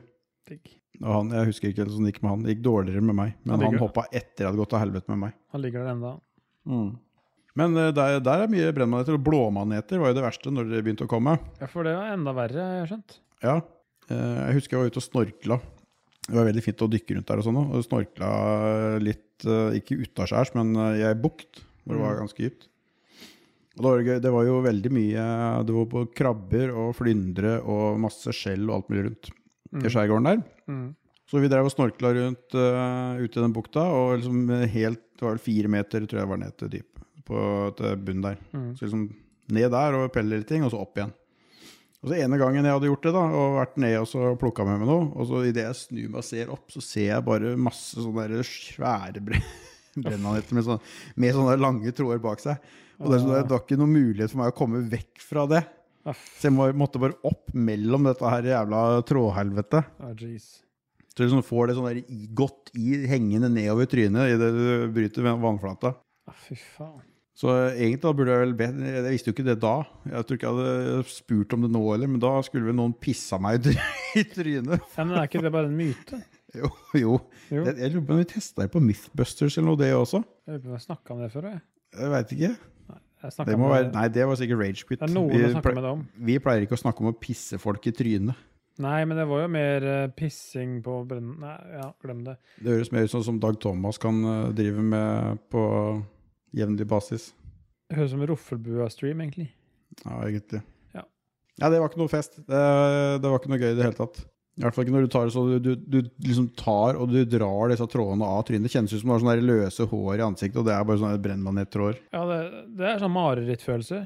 Speaker 1: Digg.
Speaker 2: Og han, jeg husker ikke helt hvordan det gikk med han. Det gikk dårligere med meg,
Speaker 1: Han
Speaker 2: men han
Speaker 1: ligger-
Speaker 2: hoppa etter jeg hadde gått til helvete med meg.
Speaker 1: Han ligger der enda.
Speaker 2: Men eh, der, der er mye brennmaneter, og blåmaneter var jo det verste når det begynte å komme.
Speaker 1: Ja, for det var enda verre, har jeg skjønt.
Speaker 2: Ja, eh, jeg husker jeg var ute og snorkla. Det var veldig fint å dykke rundt der og sånn, og snorkla litt, eh, ikke utaskjærs, men eh, i ei bukt, hvor det var ganske dypt. Og det var, det gøy. det var jo veldig mye Det var på krabber og flyndre og masse skjell og alt mulig rundt i skjærgården der.
Speaker 1: Mm.
Speaker 2: Så vi drev og snorkla rundt eh, ute i den bukta, og liksom helt, det var vel fire meter tror jeg var ned til dyp, på, til bunnen der. Så liksom ned der og pelle litt ting, og så opp igjen. Og så ene gangen jeg hadde gjort det, da, og vært ned og så plukka med meg noe, og så idet jeg snur meg og ser opp, så ser jeg bare masse sånne der svære bre brennanetter med, sånn, med sånne lange tråder bak seg. Og det, er sånn der, det var ikke noen mulighet for meg å komme vekk fra det. Så jeg må- måtte bare opp mellom dette her jævla trådhelvetet.
Speaker 1: Ah, jeez.
Speaker 2: Så du liksom får det sånn der i- godt i hengende nedover trynet idet du bryter van- vannflata.
Speaker 1: Ah, fy faen.
Speaker 2: Så egentlig da burde jeg vel bedt Jeg visste jo ikke det da. Jeg tror ikke jeg hadde spurt om det nå heller, men da skulle vel noen pissa meg i try- i trynet.
Speaker 1: Ja, men er ikke det bare en myte?
Speaker 2: Jo, jo.
Speaker 1: Jo.
Speaker 2: Jeg, jeg lurer på om vi testa det på Mythbusters eller noe, det også.
Speaker 1: Jeg lurer på om jeg snakka om det før. Jeg.
Speaker 2: Jeg veit ikke.
Speaker 1: Jeg snakket
Speaker 2: Det
Speaker 1: om eh,
Speaker 2: må være, nei, det var sikkert Ragequit.
Speaker 1: Det er noen som snakker med det om.
Speaker 2: vi pleier ikke å snakke om å pisse folk i trynet.
Speaker 1: Nei, men det var jo mer eh, pissing på brennen... Nei, ja, glem det.
Speaker 2: Det høres mer ut sånn som Dag Thomas kan eh, drive med på jevnlig basis.
Speaker 1: Det høres ut som Roffelbua-stream, egentlig.
Speaker 2: Ja, egentlig.
Speaker 1: Ja.
Speaker 2: Ja, det var ikke noe fest. Det, det var ikke noe gøy i det hele tatt. I hvert fall ikke når du tar det så du, du, du liksom tar og du drar disse trådene av trynet. Det kjennes ut som du har sånne der løse hår i ansiktet, og det er bare sånne brennmanettråder.
Speaker 1: Ja, det, det er sånn marerittfølelse,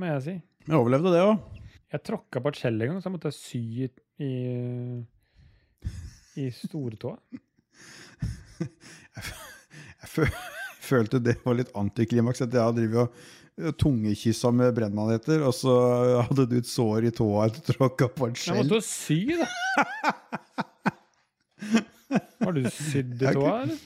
Speaker 1: må jeg si.
Speaker 2: Men jeg overlevde det òg.
Speaker 1: Jeg tråkka på et skjell en gang, så jeg måtte sy i, i, i stortåa.
Speaker 2: Jeg fø følte det var litt antiklimaks at jeg hadde drevet og tungekyssa med brennmaneter, og så hadde du et sår i tåa etter å tråkka på et
Speaker 1: Jeg
Speaker 2: skjell.
Speaker 1: måtte jo sy, da! Har du sydd i tåa, eller?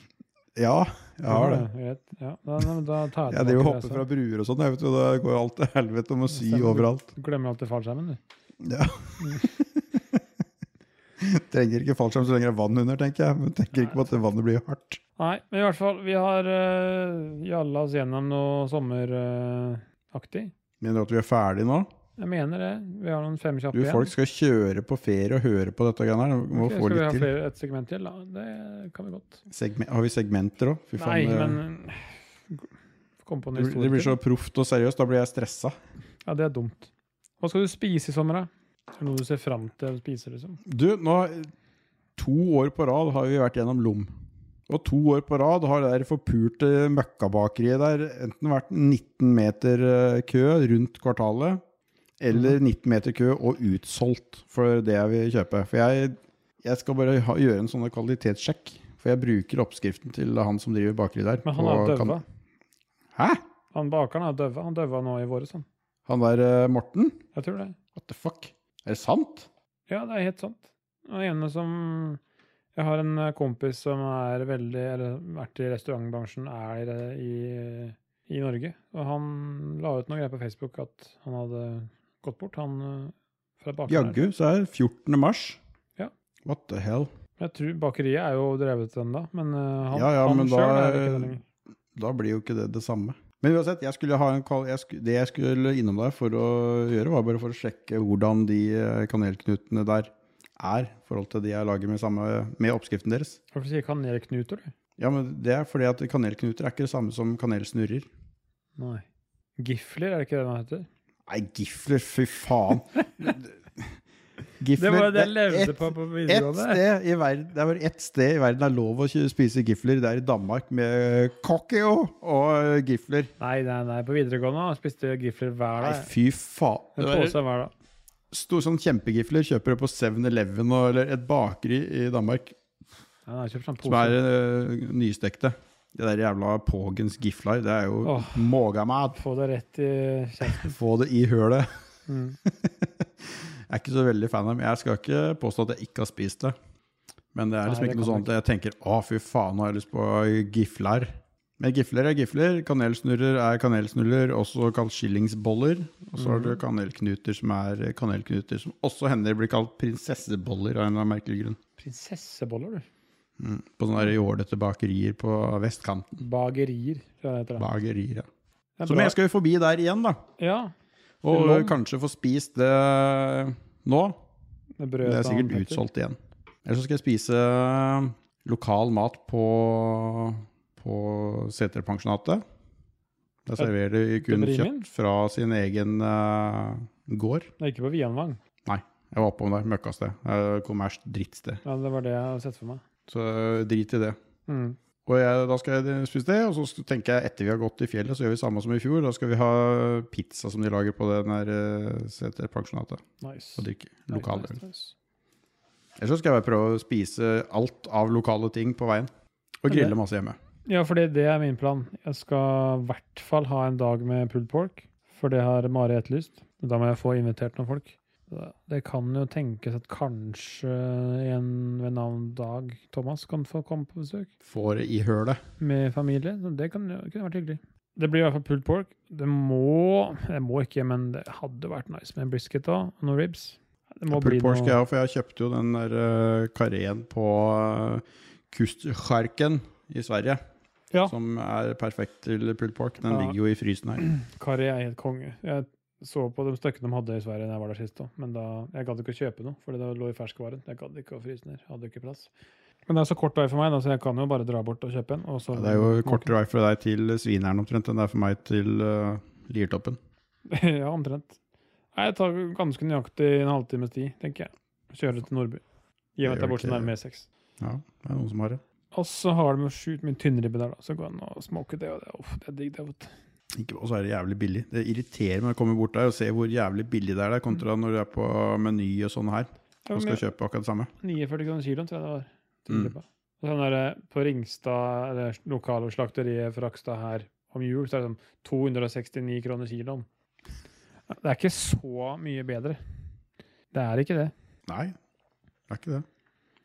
Speaker 2: Ja, jeg har det.
Speaker 1: Greit. Ja, da, da, da tar
Speaker 2: Jeg
Speaker 1: jeg
Speaker 2: driver og
Speaker 1: det,
Speaker 2: hopper
Speaker 1: så.
Speaker 2: fra bruer og sånn, jeg vet jo, da går jo alt til helvete om å sy
Speaker 1: Stemmer.
Speaker 2: overalt.
Speaker 1: Du glemmer alltid fallskjermen, du.
Speaker 2: Ja. trenger ikke fallskjerm så lenge det er vann under, tenker jeg. Men tenker ikke på at det vannet blir hardt.
Speaker 1: Nei, men i hvert fall, vi har uh, jalla oss gjennom noe sommeraktig.
Speaker 2: Mener du at vi er ferdige nå?
Speaker 1: jeg mener det. Vi har noen fem
Speaker 2: Du,
Speaker 1: kjappe igjen.
Speaker 2: Folk skal kjøre på ferie og høre på dette greiene her. Vi Må
Speaker 1: Ok,
Speaker 2: få
Speaker 1: skal vi ha
Speaker 2: litt til.
Speaker 1: flere, et segment til? Da? Det kan vi godt.
Speaker 2: Segme- har vi segmenter òg? Fy
Speaker 1: Nei,
Speaker 2: faen. det-
Speaker 1: men eh, Kom på en
Speaker 2: det, blir- det
Speaker 1: historie
Speaker 2: blir
Speaker 1: til.
Speaker 2: så proft og seriøst. Da blir jeg stressa.
Speaker 1: Ja, det er dumt. Hva skal du spise i sommer, da? Er det noe du ser fram til å spise, liksom?
Speaker 2: Du, nå To år på rad har vi vært gjennom Lom. Og to år på rad har det der forpurte møkkabakeriet der enten vært 19 meter eh, kø rundt kvartalet,
Speaker 1: Mhm.
Speaker 2: Eller 19 meter kø og utsolgt for det jeg vil kjøpe. For jeg, jeg skal bare ha, gjøre en sånn kvalitetssjekk. For jeg bruker oppskriften til han som driver bakeri der.
Speaker 1: Men han
Speaker 2: på
Speaker 1: er døva.
Speaker 2: kan- Hæ?
Speaker 1: Han bakeren er døva. Han døva nå i våres, han.
Speaker 2: Han der eh, Morten?
Speaker 1: Jeg tror det.
Speaker 2: What the fuck? Er det sant?
Speaker 1: Ja, det er helt sant. Den ene som Jeg har en eh, kompis som er veldig Eller vært i restaurantbransjen, er eh, i, i Norge. Og han la ut noen greier på Facebook at han hadde gått bort, han eh, fra bakeren. her.
Speaker 2: Jaggu, så er det 14. mars.
Speaker 1: Ja.
Speaker 2: What the hell?
Speaker 1: Jeg tror bakeriet er jo drevet ennå, men eh, han,
Speaker 2: Ja, ja,
Speaker 1: han
Speaker 2: men da
Speaker 1: sjøl er det ikke det lenger.
Speaker 2: Da blir jo ikke det det samme. Men uansett, jeg skulle ha en kal jeg sku det jeg skulle innom der for å gjøre, var bare for å sjekke hvordan de eh, kanelknutene der er i forhold til de jeg lager med, samme, med oppskriften deres.
Speaker 1: Hvorfor sier kanelknuter, du?
Speaker 2: Ja, men Det er fordi at kanelknuter er ikke det samme som kanelsnurrer.
Speaker 1: Nei. Gifler, er det ikke det den heter?
Speaker 2: Nei, gifler, fy faen!
Speaker 1: Det
Speaker 2: Gifler,
Speaker 1: var det jeg
Speaker 2: er
Speaker 1: levde
Speaker 2: ett-
Speaker 1: på på
Speaker 2: Ett
Speaker 1: videregående.
Speaker 2: sted i verden, det er bare ett sted i verden det er lov å kjø- spise gifler. Det er i Danmark med Kokkeo og gifler.
Speaker 1: Nei, nei, nei. På videregående spiste jeg gifler hver
Speaker 2: Nei,
Speaker 1: dag.
Speaker 2: fy faen.
Speaker 1: En
Speaker 2: Det var
Speaker 1: pose hver dag.
Speaker 2: stor sånn kjempegifler kjøper du på 7-Eleven og- eller et bakeri i Danmark
Speaker 1: Ja, nei, jeg kjøpte sånn
Speaker 2: som
Speaker 1: pose.
Speaker 2: er øh, nystekte. Det der jævla Pågens gifler, det er jo
Speaker 1: Åh.
Speaker 2: mågamat.
Speaker 1: Få det rett i kjeften.
Speaker 2: Få det i hølet.
Speaker 1: Mm.
Speaker 2: Jeg er ikke så veldig fan av dem. Jeg skal ikke påstå at jeg ikke har spist det. Men det er
Speaker 1: Nei,
Speaker 2: liksom
Speaker 1: det
Speaker 2: ikke noe
Speaker 1: kan
Speaker 2: sånn at jeg tenker å, fy faen, nå har jeg lyst på gifler. Men gifler er gifler, kanelsnurrer er kanelsnurrer, også kalt skillingsboller. Og så har
Speaker 1: Mm.
Speaker 2: du kanelknuter som er kanelknuter, som også hender blir kalt prinsesseboller av en eller annen merkelig grunn.
Speaker 1: Prinsesseboller, du.
Speaker 2: På sånne der jålete bakerier på vestkanten.
Speaker 1: Bagerier, tror jeg det heter. da.
Speaker 2: Bakerier, ja.
Speaker 1: Det er
Speaker 2: Så
Speaker 1: bra.
Speaker 2: men jeg skal jo forbi der igjen, da.
Speaker 1: Ja.
Speaker 2: Og
Speaker 1: Lom.
Speaker 2: kanskje få spist det nå.
Speaker 1: Det, brød
Speaker 2: Det er
Speaker 1: til han,
Speaker 2: sikkert
Speaker 1: Petter.
Speaker 2: utsolgt igjen. Eller så skal jeg spise eh, lokal mat på, på Seterpensjonatet. Der serverer de kun
Speaker 1: det blir min.
Speaker 2: kjøtt fra sin egen eh, gård.
Speaker 1: Nei, Ikke på Vianvang.
Speaker 2: Jeg var oppom der, møkkasted. Eh, Kommersielt drittsted.
Speaker 1: Ja, det var det jeg hadde sett for meg.
Speaker 2: Så eh, drit i det.
Speaker 1: Mm.
Speaker 2: Og jeg, da skal jeg spise det, og så sk- tenker jeg etter vi har gått i fjellet, så gjør vi samme som i fjor. Da skal vi ha pizza som de lager på den her eh, Seterpensjonatet,
Speaker 1: Nice.
Speaker 2: og drikke
Speaker 1: Nice,
Speaker 2: lokal
Speaker 1: nice,
Speaker 2: øl.
Speaker 1: nice.
Speaker 2: Ellers så skal jeg bare prøve å spise alt av lokale ting på veien. Og grille masse hjemme.
Speaker 1: Ja, for det er min plan. Jeg skal i hvert fall ha en dag med pulled pork, for det har Mari etterlyst. Da må jeg få invitert noen folk. Det kan jo tenkes at kanskje en ved navn Dag Thomas kan få komme på besøk
Speaker 2: Får i hølet.
Speaker 1: med familie. Så det kan, jo- kunne vært hyggelig. Det blir i hvert fall pulled pork. Det må Det må ikke, men det hadde vært nice med en brisket da, og noen ribs. Det må bli
Speaker 2: Pulled pork skal
Speaker 1: noe
Speaker 2: jeg ha, for jeg kjøpte jo den der uh, kareen på uh, Kustskjerken i Sverige.
Speaker 1: Ja.
Speaker 2: Som er perfekt til pulled pork. Den
Speaker 1: Ja.
Speaker 2: ligger jo i frysen her.
Speaker 1: Kari er helt konge. Jeg så på de stykkene de hadde i Sverige da jeg var der sist. da, Men da, jeg gadd ikke å kjøpe noe, for det lå i ferskvaren. Jeg gadd ikke å fryse ned. Hadde ikke plass. Men det er så kort vei for meg, da, så jeg kan jo bare dra bort og kjøpe en. Og så
Speaker 2: Ja, det er jo
Speaker 1: smake.
Speaker 2: kortere vei fra deg til Svineren omtrent enn det er for meg til uh, Liertoppen.
Speaker 1: ja, omtrent. Nei, jeg tar ganske nøyaktig en halvtimes tid, tenker jeg. Kjører til Nordby. I og med at det er
Speaker 2: Det gjør
Speaker 1: bortsett
Speaker 2: ikke-
Speaker 1: nærme E6.
Speaker 2: Ja, det er noen som har det.
Speaker 1: Og så har de jo sjukt mye tynnribbe der, da. Så går han og smoker det, og det, uff, det er digg, det. vet du.
Speaker 2: Ikke, og så er det jævlig billig. Det irriterer meg å komme bort der og se hvor jævlig billig det er der, kontra når du er på Meny og sånn her og skal kjøpe akkurat det samme.
Speaker 1: 49 kroner kiloen, tror jeg det var.
Speaker 2: Mm.
Speaker 1: tydeligere på. Og sånn der, eh, på Ringstad, eller lokale slakteriet Frakstad her om jul, så er det sånn 269 kroner kiloen. Det er ikke så mye bedre. Det er ikke det.
Speaker 2: Nei, det er ikke det.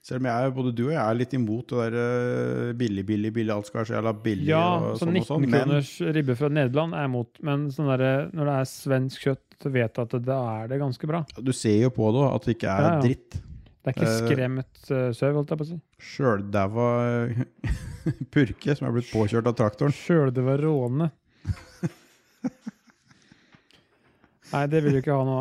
Speaker 2: Selv om jeg, både du og jeg er litt imot det der eh, billig, billig, billig, alt skal være så jævla billig
Speaker 1: Ja,
Speaker 2: og
Speaker 1: sånn
Speaker 2: sånn og
Speaker 1: 19
Speaker 2: sånn. Men
Speaker 1: kroners ribbe fra Nederland er jeg imot, men sånn der, når det er svensk kjøtt, så vet jeg at det- da er det ganske bra.
Speaker 2: du ser jo på det at det ikke er
Speaker 1: Ja, ja.
Speaker 2: dritt.
Speaker 1: Det er ikke
Speaker 2: Eh,
Speaker 1: skremt uh, sau, holdt jeg på å si.
Speaker 2: Sjøldæva purke som er blitt påkjørt av traktoren.
Speaker 1: Sjøldøva råne. Nei, det vil du ikke ha nå.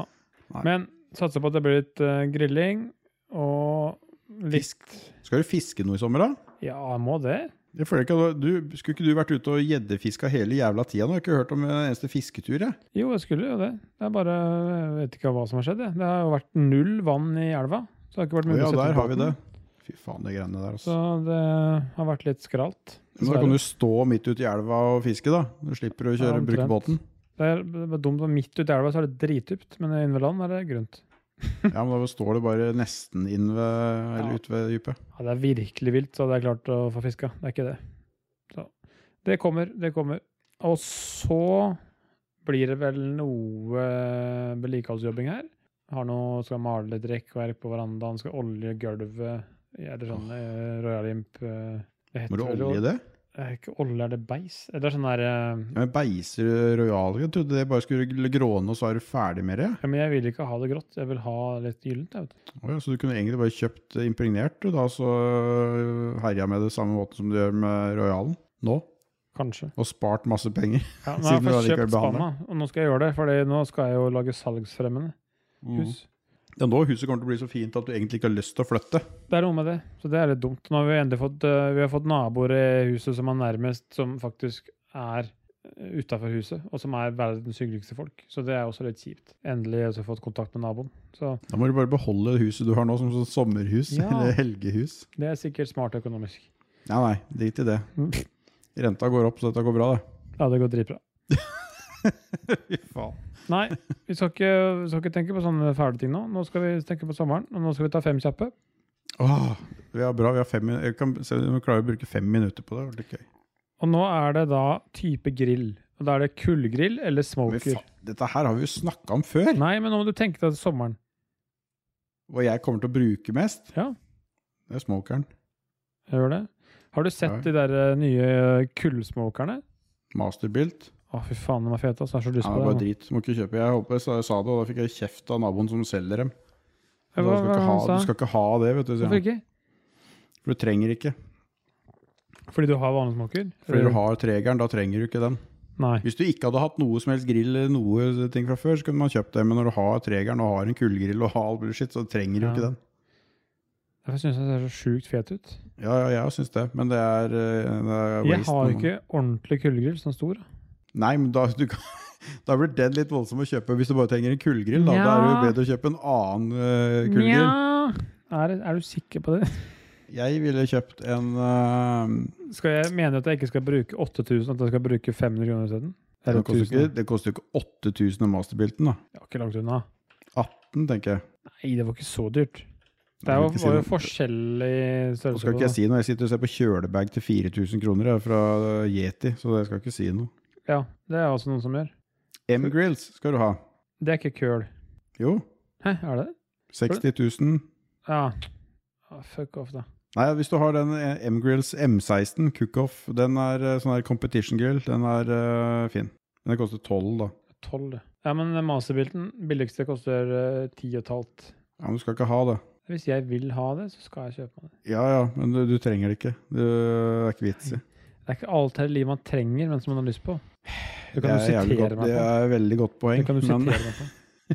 Speaker 2: Nei.
Speaker 1: Men satser på at det blir litt eh, grilling og litt
Speaker 2: Fisk. Skal du fiske noe i sommer, da?
Speaker 1: Ja, må det.
Speaker 2: Jeg føler ikke at du, du- skulle ikke du vært ute og gjeddefiska hele jævla tida? Nå har jeg ikke hørt om en eneste fisketur, jeg.
Speaker 1: Jo, jeg skulle jo det. Det er bare Jeg vet ikke hva som har skjedd. jeg. Det har jo vært null vann i elva. Så det har ikke vært
Speaker 2: Å
Speaker 1: mulig
Speaker 2: ja,
Speaker 1: å sette
Speaker 2: der
Speaker 1: ut
Speaker 2: har vi det.
Speaker 1: båten.
Speaker 2: Fy faen, de greiene der,
Speaker 1: Så
Speaker 2: altså.
Speaker 1: det har vært litt skralt.
Speaker 2: Men da kan du stå midt ute i elva og fiske, da. Du slipper å
Speaker 1: Ja,
Speaker 2: kjøre, bruke
Speaker 1: omtrent.
Speaker 2: båten.
Speaker 1: Det er det er dumt, for midt ute i elva så er det dritdypt, men inne ved land er det grunt.
Speaker 2: Ja, men da står det bare nesten inn ved, eller
Speaker 1: Ja.
Speaker 2: ut ved dypet.
Speaker 1: Ja, det er virkelig vilt, så hadde jeg klart å få fiska. Det er ikke det. Så det kommer, det kommer. Og så blir det vel noe vedlikeholdsjobbing her. Har noe, skal male litt rekkverk på verandaen, skal olje gulvet. Er det sånn eh, Royal Imp eh, det
Speaker 2: Må
Speaker 1: heter
Speaker 2: du
Speaker 1: vel-
Speaker 2: olje det?
Speaker 1: Det er ikke olje, er det beis? Det er sånn der eh,
Speaker 2: Ja, men Beiser Royal Jeg trodde det bare skulle gråne, og så er du ferdig med det.
Speaker 1: ja, Men jeg vil ikke ha det grått, jeg vil ha litt gyllent. jeg vet du.
Speaker 2: Å ja, så du kunne egentlig bare kjøpt øh, impregnert, du da, så herja med det samme måten som du gjør med Royalen nå?
Speaker 1: Kanskje.
Speaker 2: Og spart masse penger.
Speaker 1: Ja, nå har jeg
Speaker 2: Siden du
Speaker 1: først
Speaker 2: allikevel
Speaker 1: kjøpt spanna,
Speaker 2: behandler.
Speaker 1: og nå skal jeg gjøre det. For nå skal jeg jo lage salgsfremmende
Speaker 2: Mm.
Speaker 1: hus.
Speaker 2: Det er nå huset kommer til å bli så fint at du egentlig ikke har lyst til å flytte.
Speaker 1: Det er noe med det. Så det er litt dumt. Nå har vi endelig fått, eh, vi har fått naboer i huset som er nærmest, som faktisk er utafor huset, og som er verdens hyggeligste folk. Så det er også litt kjipt. Endelig har vi fått kontakt med naboen. Så
Speaker 2: Da må du bare beholde huset du har nå, som sånn sommerhus
Speaker 1: Ja.
Speaker 2: eller helgehus.
Speaker 1: det er sikkert smart økonomisk.
Speaker 2: Nei, nei, drit i det.
Speaker 1: Mm.
Speaker 2: Renta går opp, så dette går bra, det.
Speaker 1: Ja, det går dritbra.
Speaker 2: Fy faen.
Speaker 1: Nei, vi skal ikke, vi skal ikke tenke på sånne fæle ting nå. Nå skal vi tenke på sommeren, og nå skal vi ta fem kjappe.
Speaker 2: Åh, vi har bra, vi har fem min- Jeg kan se om vi klarer å bruke fem minutter på det. Det var litt gøy.
Speaker 1: Og nå er det da type grill. Og da er det kullgrill eller
Speaker 2: Men
Speaker 1: smoker.
Speaker 2: faen, dette her har vi jo snakka om før,
Speaker 1: Nei, men nå må du tenke deg sommeren.
Speaker 2: hva jeg kommer til å bruke mest.
Speaker 1: Ja.
Speaker 2: Det er smokeren.
Speaker 1: Gjør det. Har du sett
Speaker 2: Ja.
Speaker 1: de der eh, nye kullsmokerne?
Speaker 2: Masterbuilt.
Speaker 1: Å, fy faen, de er fete. ass. Jeg har så lyst
Speaker 2: Ja, det
Speaker 1: på
Speaker 2: er
Speaker 1: det.
Speaker 2: bare
Speaker 1: nå.
Speaker 2: drit. Må ikke kjøpe. Jeg håper jeg sa- jeg sa det, og da fikk jeg kjeft av naboen som selger dem.
Speaker 1: Ja,
Speaker 2: Så
Speaker 1: hva-
Speaker 2: du, skal
Speaker 1: hva
Speaker 2: ikke ha,
Speaker 1: han sa?
Speaker 2: du skal ikke ha det, vet du. sier
Speaker 1: Hvorfor
Speaker 2: han.
Speaker 1: ikke?
Speaker 2: For du trenger ikke.
Speaker 1: Fordi du har vanlig smoker?
Speaker 2: Fordi du har tregeren, da trenger du ikke den.
Speaker 1: Nei.
Speaker 2: Hvis du ikke hadde hatt noe som helst grill eller noe ting fra før, så kunne man kjøpt det. Men når du har tregeren og har en kullgrill og har all mulig shit, så trenger du
Speaker 1: Ja.
Speaker 2: ikke den.
Speaker 1: Derfor syns jeg det ser så sjukt fet ut.
Speaker 2: Ja, ja, jeg syns det, men det er, eh, det er
Speaker 1: Jeg
Speaker 2: waste
Speaker 1: har
Speaker 2: når
Speaker 1: jo
Speaker 2: man-
Speaker 1: ikke ordentlig kullgrill, sånn stor.
Speaker 2: Nei, men da, du kan, da blir den litt voldsom å kjøpe hvis du bare trenger en kullgrill. Da, da
Speaker 1: Nja.
Speaker 2: er det jo bedre å kjøpe en annen eh, kullgrill.
Speaker 1: Nja er, det- er du sikker på det?
Speaker 2: Jeg ville kjøpt en eh,
Speaker 1: Skal jeg mene at jeg ikke skal bruke 8000, at jeg skal bruke 500 kroner isteden? Eller
Speaker 2: Det koster jo
Speaker 1: 1000?
Speaker 2: ikke- det koster jo ikke 8000 av masterbilten, da.
Speaker 1: Ja, ikke langt unna.
Speaker 2: 18, tenker jeg.
Speaker 1: Nei, det var ikke så dyrt. Det er jo,
Speaker 2: Jeg vil ikke si
Speaker 1: var jo
Speaker 2: noe.
Speaker 1: forskjellig
Speaker 2: Nå
Speaker 1: størrelse
Speaker 2: skal
Speaker 1: på
Speaker 2: ikke jeg
Speaker 1: det.
Speaker 2: si noe. Jeg sitter og ser på kjølebag til 4000 kroner jeg, fra eh, Yeti, så jeg skal ikke si
Speaker 1: da.
Speaker 2: noe.
Speaker 1: Ja, det er også noen som gjør.
Speaker 2: M-grills skal du ha.
Speaker 1: Det er ikke køl.
Speaker 2: Jo,
Speaker 1: Hæ, er det det?
Speaker 2: 60 000.
Speaker 1: Ja. Ah, fuck off, da.
Speaker 2: Nei, hvis du har den eh, M-grills M16 cook-off, den er eh, sånn her competition grill, den er eh, fin. Men det koster 12, da.
Speaker 1: 12, det. Ja, men den masterbilden, billigste, koster eh, 10,5.
Speaker 2: Ja, men du skal ikke ha det.
Speaker 1: Hvis jeg vil ha det, så skal jeg kjøpe meg det.
Speaker 2: Ja ja, men du, du trenger det ikke. Du, det er ikke vits i.
Speaker 1: Det er ikke alt her i livet man trenger, men som man har lyst på. Det
Speaker 2: Det
Speaker 1: kan
Speaker 2: er
Speaker 1: du
Speaker 2: jævlig
Speaker 1: sitere
Speaker 2: godt,
Speaker 1: meg
Speaker 2: Det
Speaker 1: på.
Speaker 2: er veldig godt poeng.
Speaker 1: Det kan du
Speaker 2: men-
Speaker 1: sitere meg på.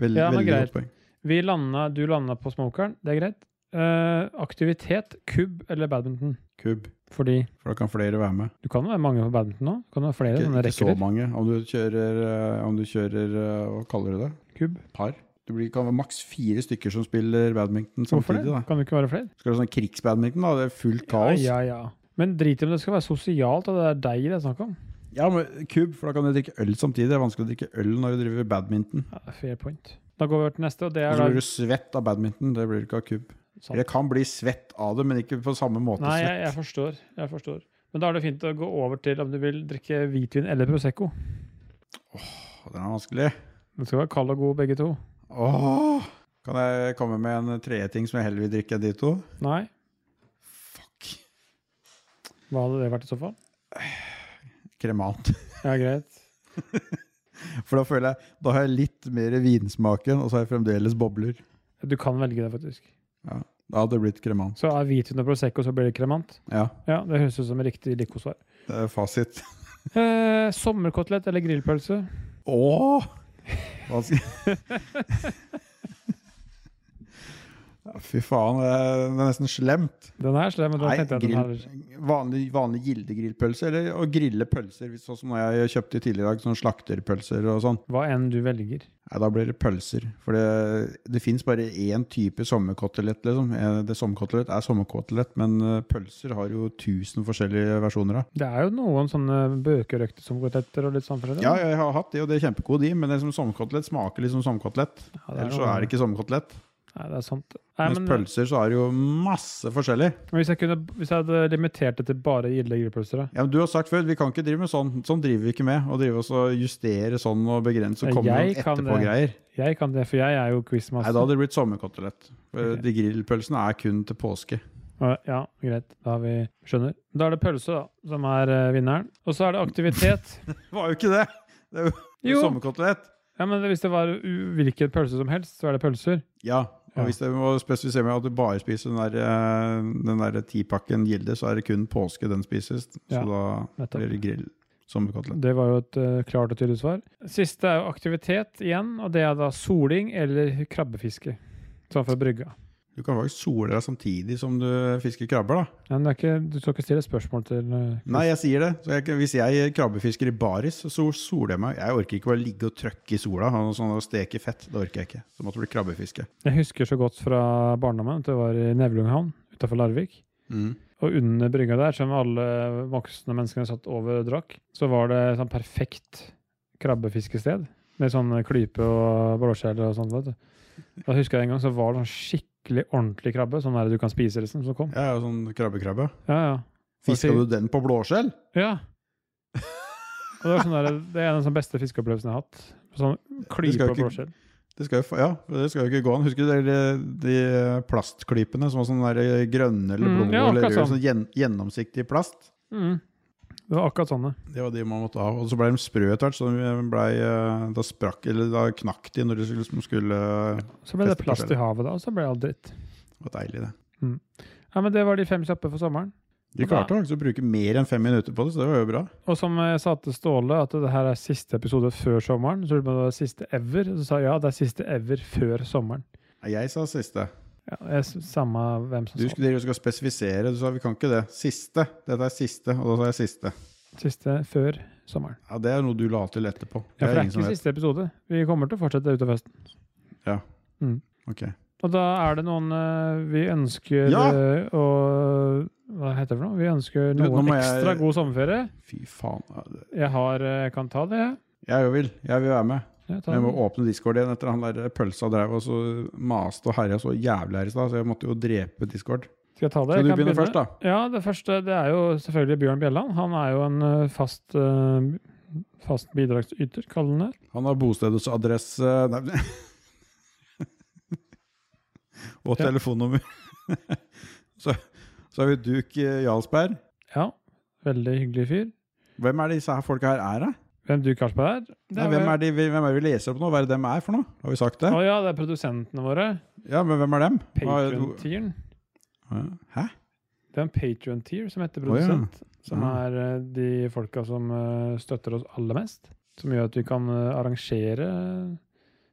Speaker 2: veldig,
Speaker 1: Ja, men
Speaker 2: veldig
Speaker 1: greit.
Speaker 2: godt poeng.
Speaker 1: Vi landa, du landa på smokeren, det er greit. Eh, aktivitet, kubb eller badminton?
Speaker 2: Kubb,
Speaker 1: Fordi
Speaker 2: for da kan flere være med.
Speaker 1: du kan jo være mange på badminton nå. Du kan jo ha flere
Speaker 2: Ikke,
Speaker 1: sånne
Speaker 2: ikke så
Speaker 1: rekker.
Speaker 2: mange. Om du kjører, eh, om du kjører eh, Hva kaller du det?
Speaker 1: Kubb.
Speaker 2: Par? Det blir, kan være maks fire stykker som spiller badminton
Speaker 1: Hvorfor
Speaker 2: samtidig.
Speaker 1: det?
Speaker 2: da.
Speaker 1: Kan det ikke være flere?
Speaker 2: Skal du ha sånn krigsbadminton, da? Det er fullt kaos.
Speaker 1: Ja, ja, ja. Men drit i om det skal være sosialt, og det er deg det er snakk om.
Speaker 2: Ja, men kubb, for da kan du drikke øl samtidig. Det er vanskelig å drikke øl når du driver badminton.
Speaker 1: Ja, fair point. Da går vi over til neste, og det
Speaker 2: Og
Speaker 1: er
Speaker 2: så
Speaker 1: da
Speaker 2: blir du svett av badminton. Det blir du ikke av kubb.
Speaker 1: Sant.
Speaker 2: Eller kan bli svett av det, men ikke på samme måte
Speaker 1: Nei, jeg,
Speaker 2: svett.
Speaker 1: jeg forstår. Jeg forstår. Men da er det fint å gå over til om du vil drikke hvitvin eller Prosecco.
Speaker 2: Å, Den er vanskelig.
Speaker 1: Den skal være kald og god, begge to.
Speaker 2: Åh, kan jeg komme med en tredje ting som jeg heller vil drikke enn de to?
Speaker 1: Nei?
Speaker 2: Fuck.
Speaker 1: Hva hadde det vært i så fall?
Speaker 2: Kremant.
Speaker 1: Ja, greit.
Speaker 2: For da føler jeg, da har jeg litt mer vinsmaken, og så har jeg fremdeles bobler.
Speaker 1: Du kan velge det, faktisk.
Speaker 2: Da hadde det blitt kremant.
Speaker 1: Så er hvitvin og Prosecco, så blir det kremant?
Speaker 2: Ja,
Speaker 1: Ja, det høres ut som en riktig likosvar.
Speaker 2: det er fasit.
Speaker 1: Eh, sommerkotelett eller grillpølse?
Speaker 2: Åh! Vanskelig. Ja, fy faen, det er det er nesten slemt.
Speaker 1: Den er slem, men da
Speaker 2: Nei,
Speaker 1: tenkte jeg den
Speaker 2: grill,
Speaker 1: her.
Speaker 2: vanlig, vanlig gildegrillpølse, eller å grille pølser, hvis- sånn som jeg kjøpte tidligere i dag, sånn slakterpølser og sånn.
Speaker 1: Hva enn du velger.
Speaker 2: Nei, da blir det pølser. For det, det fins bare én type sommerkotelett. Liksom. Eh, Det sommerkotelett er sommerkotelett, men eh, pølser har jo 1000 forskjellige versjoner av.
Speaker 1: Det er jo noen sånne bøkerøkte sommerkoteletter og litt sånn forskjellig.
Speaker 2: Ja, jeg har hatt de, og de er kjempegode, de, men det som sommerkotelett smaker liksom sommerkotelett.
Speaker 1: Ja, det
Speaker 2: Ellers så
Speaker 1: noe-
Speaker 2: er det ikke sommerkotelett.
Speaker 1: Nei, det er sant. Nei,
Speaker 2: Mens
Speaker 1: men,
Speaker 2: pølser så er det jo masse forskjellig.
Speaker 1: men hvis, jeg kunne, hvis jeg hadde limitert det til bare gilde grillpølser, da?
Speaker 2: Ja, men Du har sagt før vi kan ikke drive med sånn. Sånn driver vi ikke med. Å drive oss og justere sånn og begrense og
Speaker 1: Ja,
Speaker 2: komme med
Speaker 1: jeg kan det.
Speaker 2: etterpå-greier.
Speaker 1: Jeg kan det, for jeg er jo
Speaker 2: Nei,
Speaker 1: quizmaster.
Speaker 2: Da hadde det blitt sommerkotelett. For
Speaker 1: Ok.
Speaker 2: De grillpølsene er kun til påske.
Speaker 1: Ja, Ja, greit. Da har vi skjønner. Da er det pølse, da, som er eh, vinneren. Og så er det aktivitet.
Speaker 2: Det var jo ikke det! Det er jo
Speaker 1: Jo,
Speaker 2: sommerkotelett.
Speaker 1: ja, men hvis det var u- hvilken pølse som helst, så er det pølser.
Speaker 2: Ja, Og hvis jeg må spesifisere meg at du bare spiser den der, eh, den der tipakken Gilde, så er det kun påske den spises.
Speaker 1: Ja,
Speaker 2: Så da
Speaker 1: nettopp.
Speaker 2: blir det grill. Sommerkotelett.
Speaker 1: Det var jo et eh, klart og tydelig svar. Siste er jo aktivitet igjen, og det er da soling eller krabbefiske. Sånn fra brygga.
Speaker 2: Du kan faktisk sole deg samtidig som du fisker krabber, da.
Speaker 1: Men det er ikke, du skal ikke stille spørsmål til eh,
Speaker 2: Nei, jeg sier det. Så jeg, hvis jeg krabbefisker i baris, så soler jeg meg. Jeg orker ikke bare ligge og trøkke i sola og sånn og steke fett. Det orker jeg ikke. Så måtte det bli krabbefiske.
Speaker 1: Jeg husker så godt fra barndommen at det var i Nevlunghavn utafor Larvik.
Speaker 2: Mm.
Speaker 1: Og under brygga der, som alle voksne menneskene satt over og drakk, så var det sånn perfekt krabbefiskested. Med sånn klype og blåskjell og sånt. Vet du. Da husker jeg en gang så var det sånn skikkelig ordentlig krabbe, sånn der du kan spise liksom, som kom.
Speaker 2: Ja, ja, sånn krabbekrabbe.
Speaker 1: Ja, ja.
Speaker 2: Fiska du den på blåskjell?
Speaker 1: Ja. Og det, var sånn der, det er en av de beste fiskeopplevelsene jeg har hatt. Sånn klype
Speaker 2: skal
Speaker 1: og
Speaker 2: ikke-
Speaker 1: blåskjell.
Speaker 2: Det skal jo, fa- ja, det skal jo ikke gå an. Husker du de, de plastklypene som var sånn der grønne eller
Speaker 1: Mm,
Speaker 2: blå
Speaker 1: ja,
Speaker 2: eller
Speaker 1: akkurat
Speaker 2: røde,
Speaker 1: sånn.
Speaker 2: sånn gjen, gjennomsiktig plast?
Speaker 1: Mm. Det var akkurat sånne.
Speaker 2: Det var de man måtte ha. Og så ble de sprø etter hvert, så de ble, eh, da sprakk eller da knakk de når de skulle, liksom skulle
Speaker 1: Så ble det
Speaker 2: Beste
Speaker 1: plast i
Speaker 2: forskjell.
Speaker 1: havet da, og så ble alt dritt.
Speaker 2: Det var deilig, det.
Speaker 1: Ja, men Det var de fem kjappe for sommeren.
Speaker 2: De klarte faktisk å bruke mer enn fem minutter på det, så det var jo bra.
Speaker 1: Og som jeg sa til Ståle, at det her er siste episode før sommeren. Så lurte jeg på om det var siste ever. Så sa jeg ja, det er siste ever før sommeren.
Speaker 2: Nei, Jeg sa siste.
Speaker 1: Ja, jeg, s- samme hvem som
Speaker 2: Du
Speaker 1: sa det.
Speaker 2: skulle, dere skal spesifisere. Du sa vi kan ikke det. Siste. Dette er siste, og da sa jeg siste.
Speaker 1: Siste før sommeren.
Speaker 2: Ja, Det er noe du la til etterpå.
Speaker 1: Ja,
Speaker 2: Det
Speaker 1: for det
Speaker 2: er
Speaker 1: er
Speaker 2: ingen som
Speaker 1: ikke
Speaker 2: vet.
Speaker 1: siste episode. Vi kommer til å fortsette utover høsten. Mm.
Speaker 2: Ok.
Speaker 1: Og da er det noen eh, vi ønsker
Speaker 2: Ja!
Speaker 1: eh, å Hva heter det for noe? Vi ønsker
Speaker 2: Du, nå
Speaker 1: noen
Speaker 2: må jeg-
Speaker 1: ekstra god sommerferie.
Speaker 2: Fy faen. ja, det-
Speaker 1: Jeg har, eh, kan ta det, jeg.
Speaker 2: Jeg jo vil. Jeg vil være med.
Speaker 1: jeg. tar
Speaker 2: Men Jeg må
Speaker 1: den.
Speaker 2: åpne Discord igjen etter han der eh, pølsa drev og så maste og herja så jævlig her i stad, så jeg måtte jo drepe Discord.
Speaker 1: Skal jeg ta det?
Speaker 2: Skal
Speaker 1: Jeg
Speaker 2: du
Speaker 1: kan
Speaker 2: begynne først, da?
Speaker 1: Ja, det første det er jo selvfølgelig Bjørn Bjelland. Han er jo en eh, fast, eh, fast bidragsyter, kaller han det.
Speaker 2: Han har bostedsadresse Nei. og
Speaker 1: Ja.
Speaker 2: telefonnummer. så, så har vi Duk eh, Jarlsberg.
Speaker 1: Ja, veldig hyggelig fyr.
Speaker 2: Hvem er disse her folka her er, da?
Speaker 1: Hvem du, Karlsberg, er?
Speaker 2: Nei, hvem, er de, vi- hvem er det vi leser opp nå? Hva er det dem er for noe? Har vi sagt det?
Speaker 1: Å ja, det er produsentene våre.
Speaker 2: Ja, men hvem er dem? Hva er-
Speaker 1: Patrion-tieren.
Speaker 2: Hæ?
Speaker 1: Det er en Patrion-tier som heter
Speaker 2: ja.
Speaker 1: produsent, som
Speaker 2: Ja.
Speaker 1: er eh, de folka som eh, støtter oss aller mest. Som gjør at vi kan eh, arrangere eh,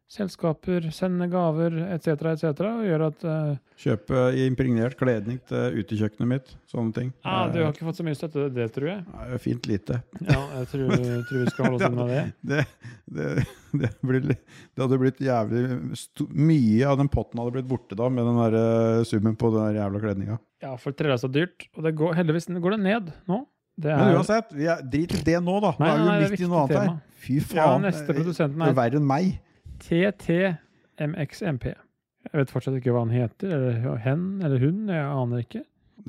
Speaker 1: selskaper, sende gaver etc., etc. Og gjør at eh,
Speaker 2: Kjøpe impregnert kledning til eh, utekjøkkenet mitt. Sånne ting.
Speaker 1: ah, Du har ikke fått så mye støtte, det tror jeg.
Speaker 2: Eh, Fint lite.
Speaker 1: Ja, jeg tror, tror vi skal holde oss unna det.
Speaker 2: Det, det, det, blir, litt- det hadde blitt jævlig sto, Mye av den potten hadde blitt borte da med den der eh, summen på den der jævla kledninga.
Speaker 1: Ja, for trella er så dyrt. Og det går, heldigvis går det ned nå. Det
Speaker 2: Men uansett, vi er, drit i det nå, da. Nå
Speaker 1: Nei,
Speaker 2: er vi
Speaker 1: nei, det
Speaker 2: jo
Speaker 1: er
Speaker 2: midt i
Speaker 1: viktig
Speaker 2: noe annet her.
Speaker 1: tema.
Speaker 2: Fy faen.
Speaker 1: Ja, neste produsenten
Speaker 2: Det
Speaker 1: er
Speaker 2: er verre enn meg.
Speaker 1: TTMXMP. Jeg vet fortsatt ikke hva han heter, eller hen eller hun. Jeg aner ikke.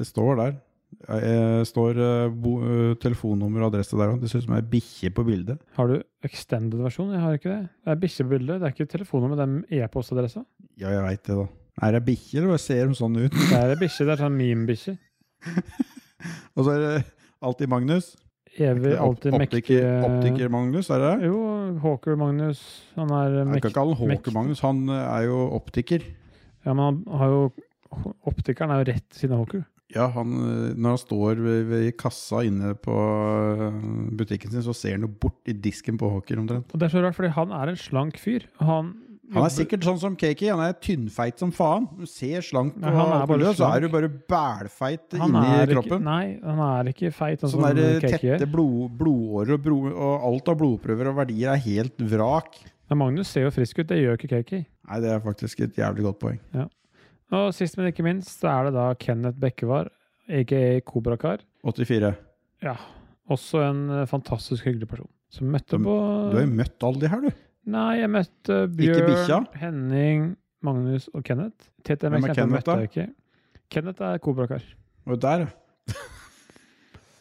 Speaker 2: Det står der. Det står eh, bo, eh, telefonnummer og adresse der òg. Det ser ut som ei bikkje på bildet.
Speaker 1: Har du extended versjon? Jeg har ikke det. Det er bikkjebilde, det er ikke telefonnummer, det er e-postadressa.
Speaker 2: Ja, jeg veit det, da. Er det ei bikkje, eller bare ser hun sånn ut?
Speaker 1: Det er ei bikkje, det er sånn meme-bikkje.
Speaker 2: Og så er det alltid Magnus.
Speaker 1: Evig, alltid mektig
Speaker 2: optiker, optiker Magnus, er det?
Speaker 1: Jo, Hawker Magnus, han er
Speaker 2: Jeg kan
Speaker 1: mektig.
Speaker 2: ikke kalle han Håker
Speaker 1: mektig.
Speaker 2: Magnus, han eh, er jo optiker.
Speaker 1: Ja, men han har jo Optikeren er jo rett ved siden av Hawker.
Speaker 2: Ja, han, eh, når han står ved, ved kassa inne på eh, butikken sin, så ser han jo bort i disken på Håker omtrent.
Speaker 1: Og det er så rart, fordi han er en slank fyr. Han,
Speaker 2: Han er sikkert sånn som Kaki, han er tynnfeit som faen. Du ser slank og
Speaker 1: Men han er bare
Speaker 2: alt mulig, så
Speaker 1: slank.
Speaker 2: er du bare bælfeit
Speaker 1: Han
Speaker 2: inni
Speaker 1: er Ikke,
Speaker 2: kroppen.
Speaker 1: nei, han er ikke feit. Sånn,
Speaker 2: Sånn
Speaker 1: som
Speaker 2: der
Speaker 1: Keke
Speaker 2: tette
Speaker 1: gjør.
Speaker 2: blod, blodårer og, bro, og alt av blodprøver og verdier er helt vrak.
Speaker 1: Men Magnus ser jo frisk ut, det gjør ikke Kaki.
Speaker 2: Nei, det er faktisk et jævlig godt poeng.
Speaker 1: Og sist, men ikke minst, så er det da Kenneth Bekkevar, aka Kobrakar.
Speaker 2: 84.
Speaker 1: Ja, også en eh, fantastisk hyggelig person. Som møtte
Speaker 2: Du-
Speaker 1: på
Speaker 2: Du har jo møtt alle de her, du.
Speaker 1: Nei, jeg møtte
Speaker 2: bikkja?
Speaker 1: Bjørn, Henning, Magnus og Kenneth. TTM
Speaker 2: Hvem er
Speaker 1: eksempel
Speaker 2: Kenneth,
Speaker 1: møtte jeg ikke. Kenneth er Kobrakar.
Speaker 2: Og der,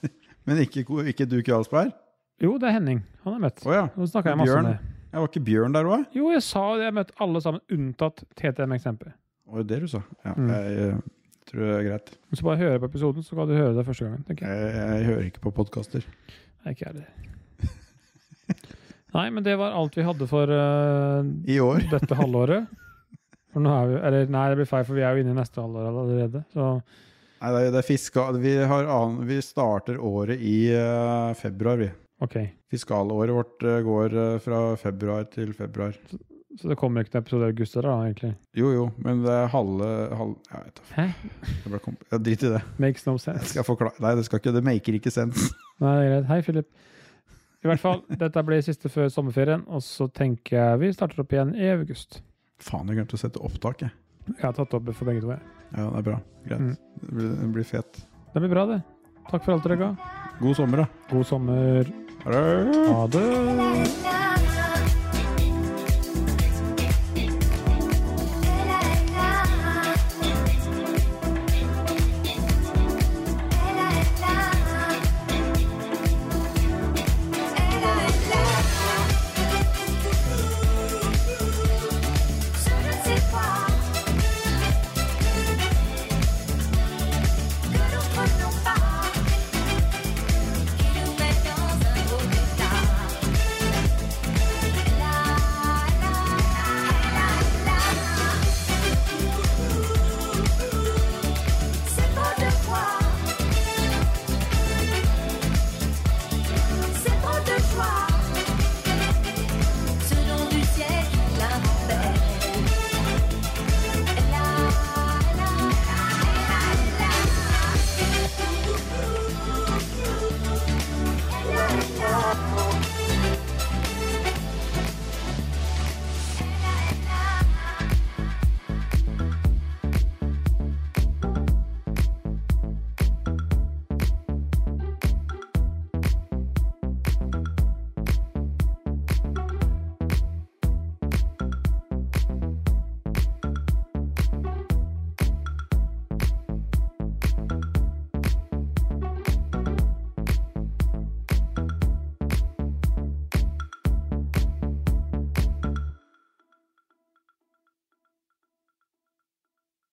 Speaker 2: ja. Men ikke, ikke du, Jarlsberg?
Speaker 1: Jo, det er Henning. Han er møtt.
Speaker 2: Å ja.
Speaker 1: Nå snakker jeg masse om
Speaker 2: Bjørn?
Speaker 1: det.
Speaker 2: Jeg var ikke Bjørn der òg?
Speaker 1: Jo, jeg sa det. Jeg møtte alle sammen, unntatt TTM eksempel.
Speaker 2: Var det det du sa? Ja,
Speaker 1: Mm.
Speaker 2: jeg, eh, tror det er greit.
Speaker 1: Hvis du bare hører på episoden, så kan du høre det første gangen. tenker jeg.
Speaker 2: Jeg, jeg hører ikke på podkaster.
Speaker 1: Nei, ikke jeg heller. Nei, men det var alt vi hadde for eh,
Speaker 2: I år.
Speaker 1: dette halvåret. For nå er vi, eller nei, det blir feil, for vi er jo inne i neste halvår allerede. Så
Speaker 2: Nei, det er, det er fiska, vi, har annen, vi starter året i eh, februar, vi.
Speaker 1: ok.
Speaker 2: Fiskalåret vårt eh, går eh, fra februar til februar.
Speaker 1: Så det kommer ikke en episode i august da, egentlig.
Speaker 2: Jo, jo, men det er halve, halve Jeg vet da,
Speaker 1: Hæ?
Speaker 2: jeg ble komp- ja, Drit i det.
Speaker 1: Makes no
Speaker 2: Jeg
Speaker 1: sense.
Speaker 2: skal forklare. Nei, det skal ikke, det maker ikke sense.
Speaker 1: Nei, det er greit. Hei, Philip. I hvert fall, dette blir siste før sommerferien, og så tenker jeg vi starter opp igjen i august.
Speaker 2: Faen, jeg glemte å sette opptak, jeg.
Speaker 1: Jeg har tatt opp for begge to, jeg.
Speaker 2: Ja, det er bra. Greit.
Speaker 1: Mm.
Speaker 2: Det, blir, det blir fet.
Speaker 1: Det blir bra, det. Takk for alt dere ga.
Speaker 2: God sommer, da.
Speaker 1: God sommer.
Speaker 2: Ha det.
Speaker 1: Ha det.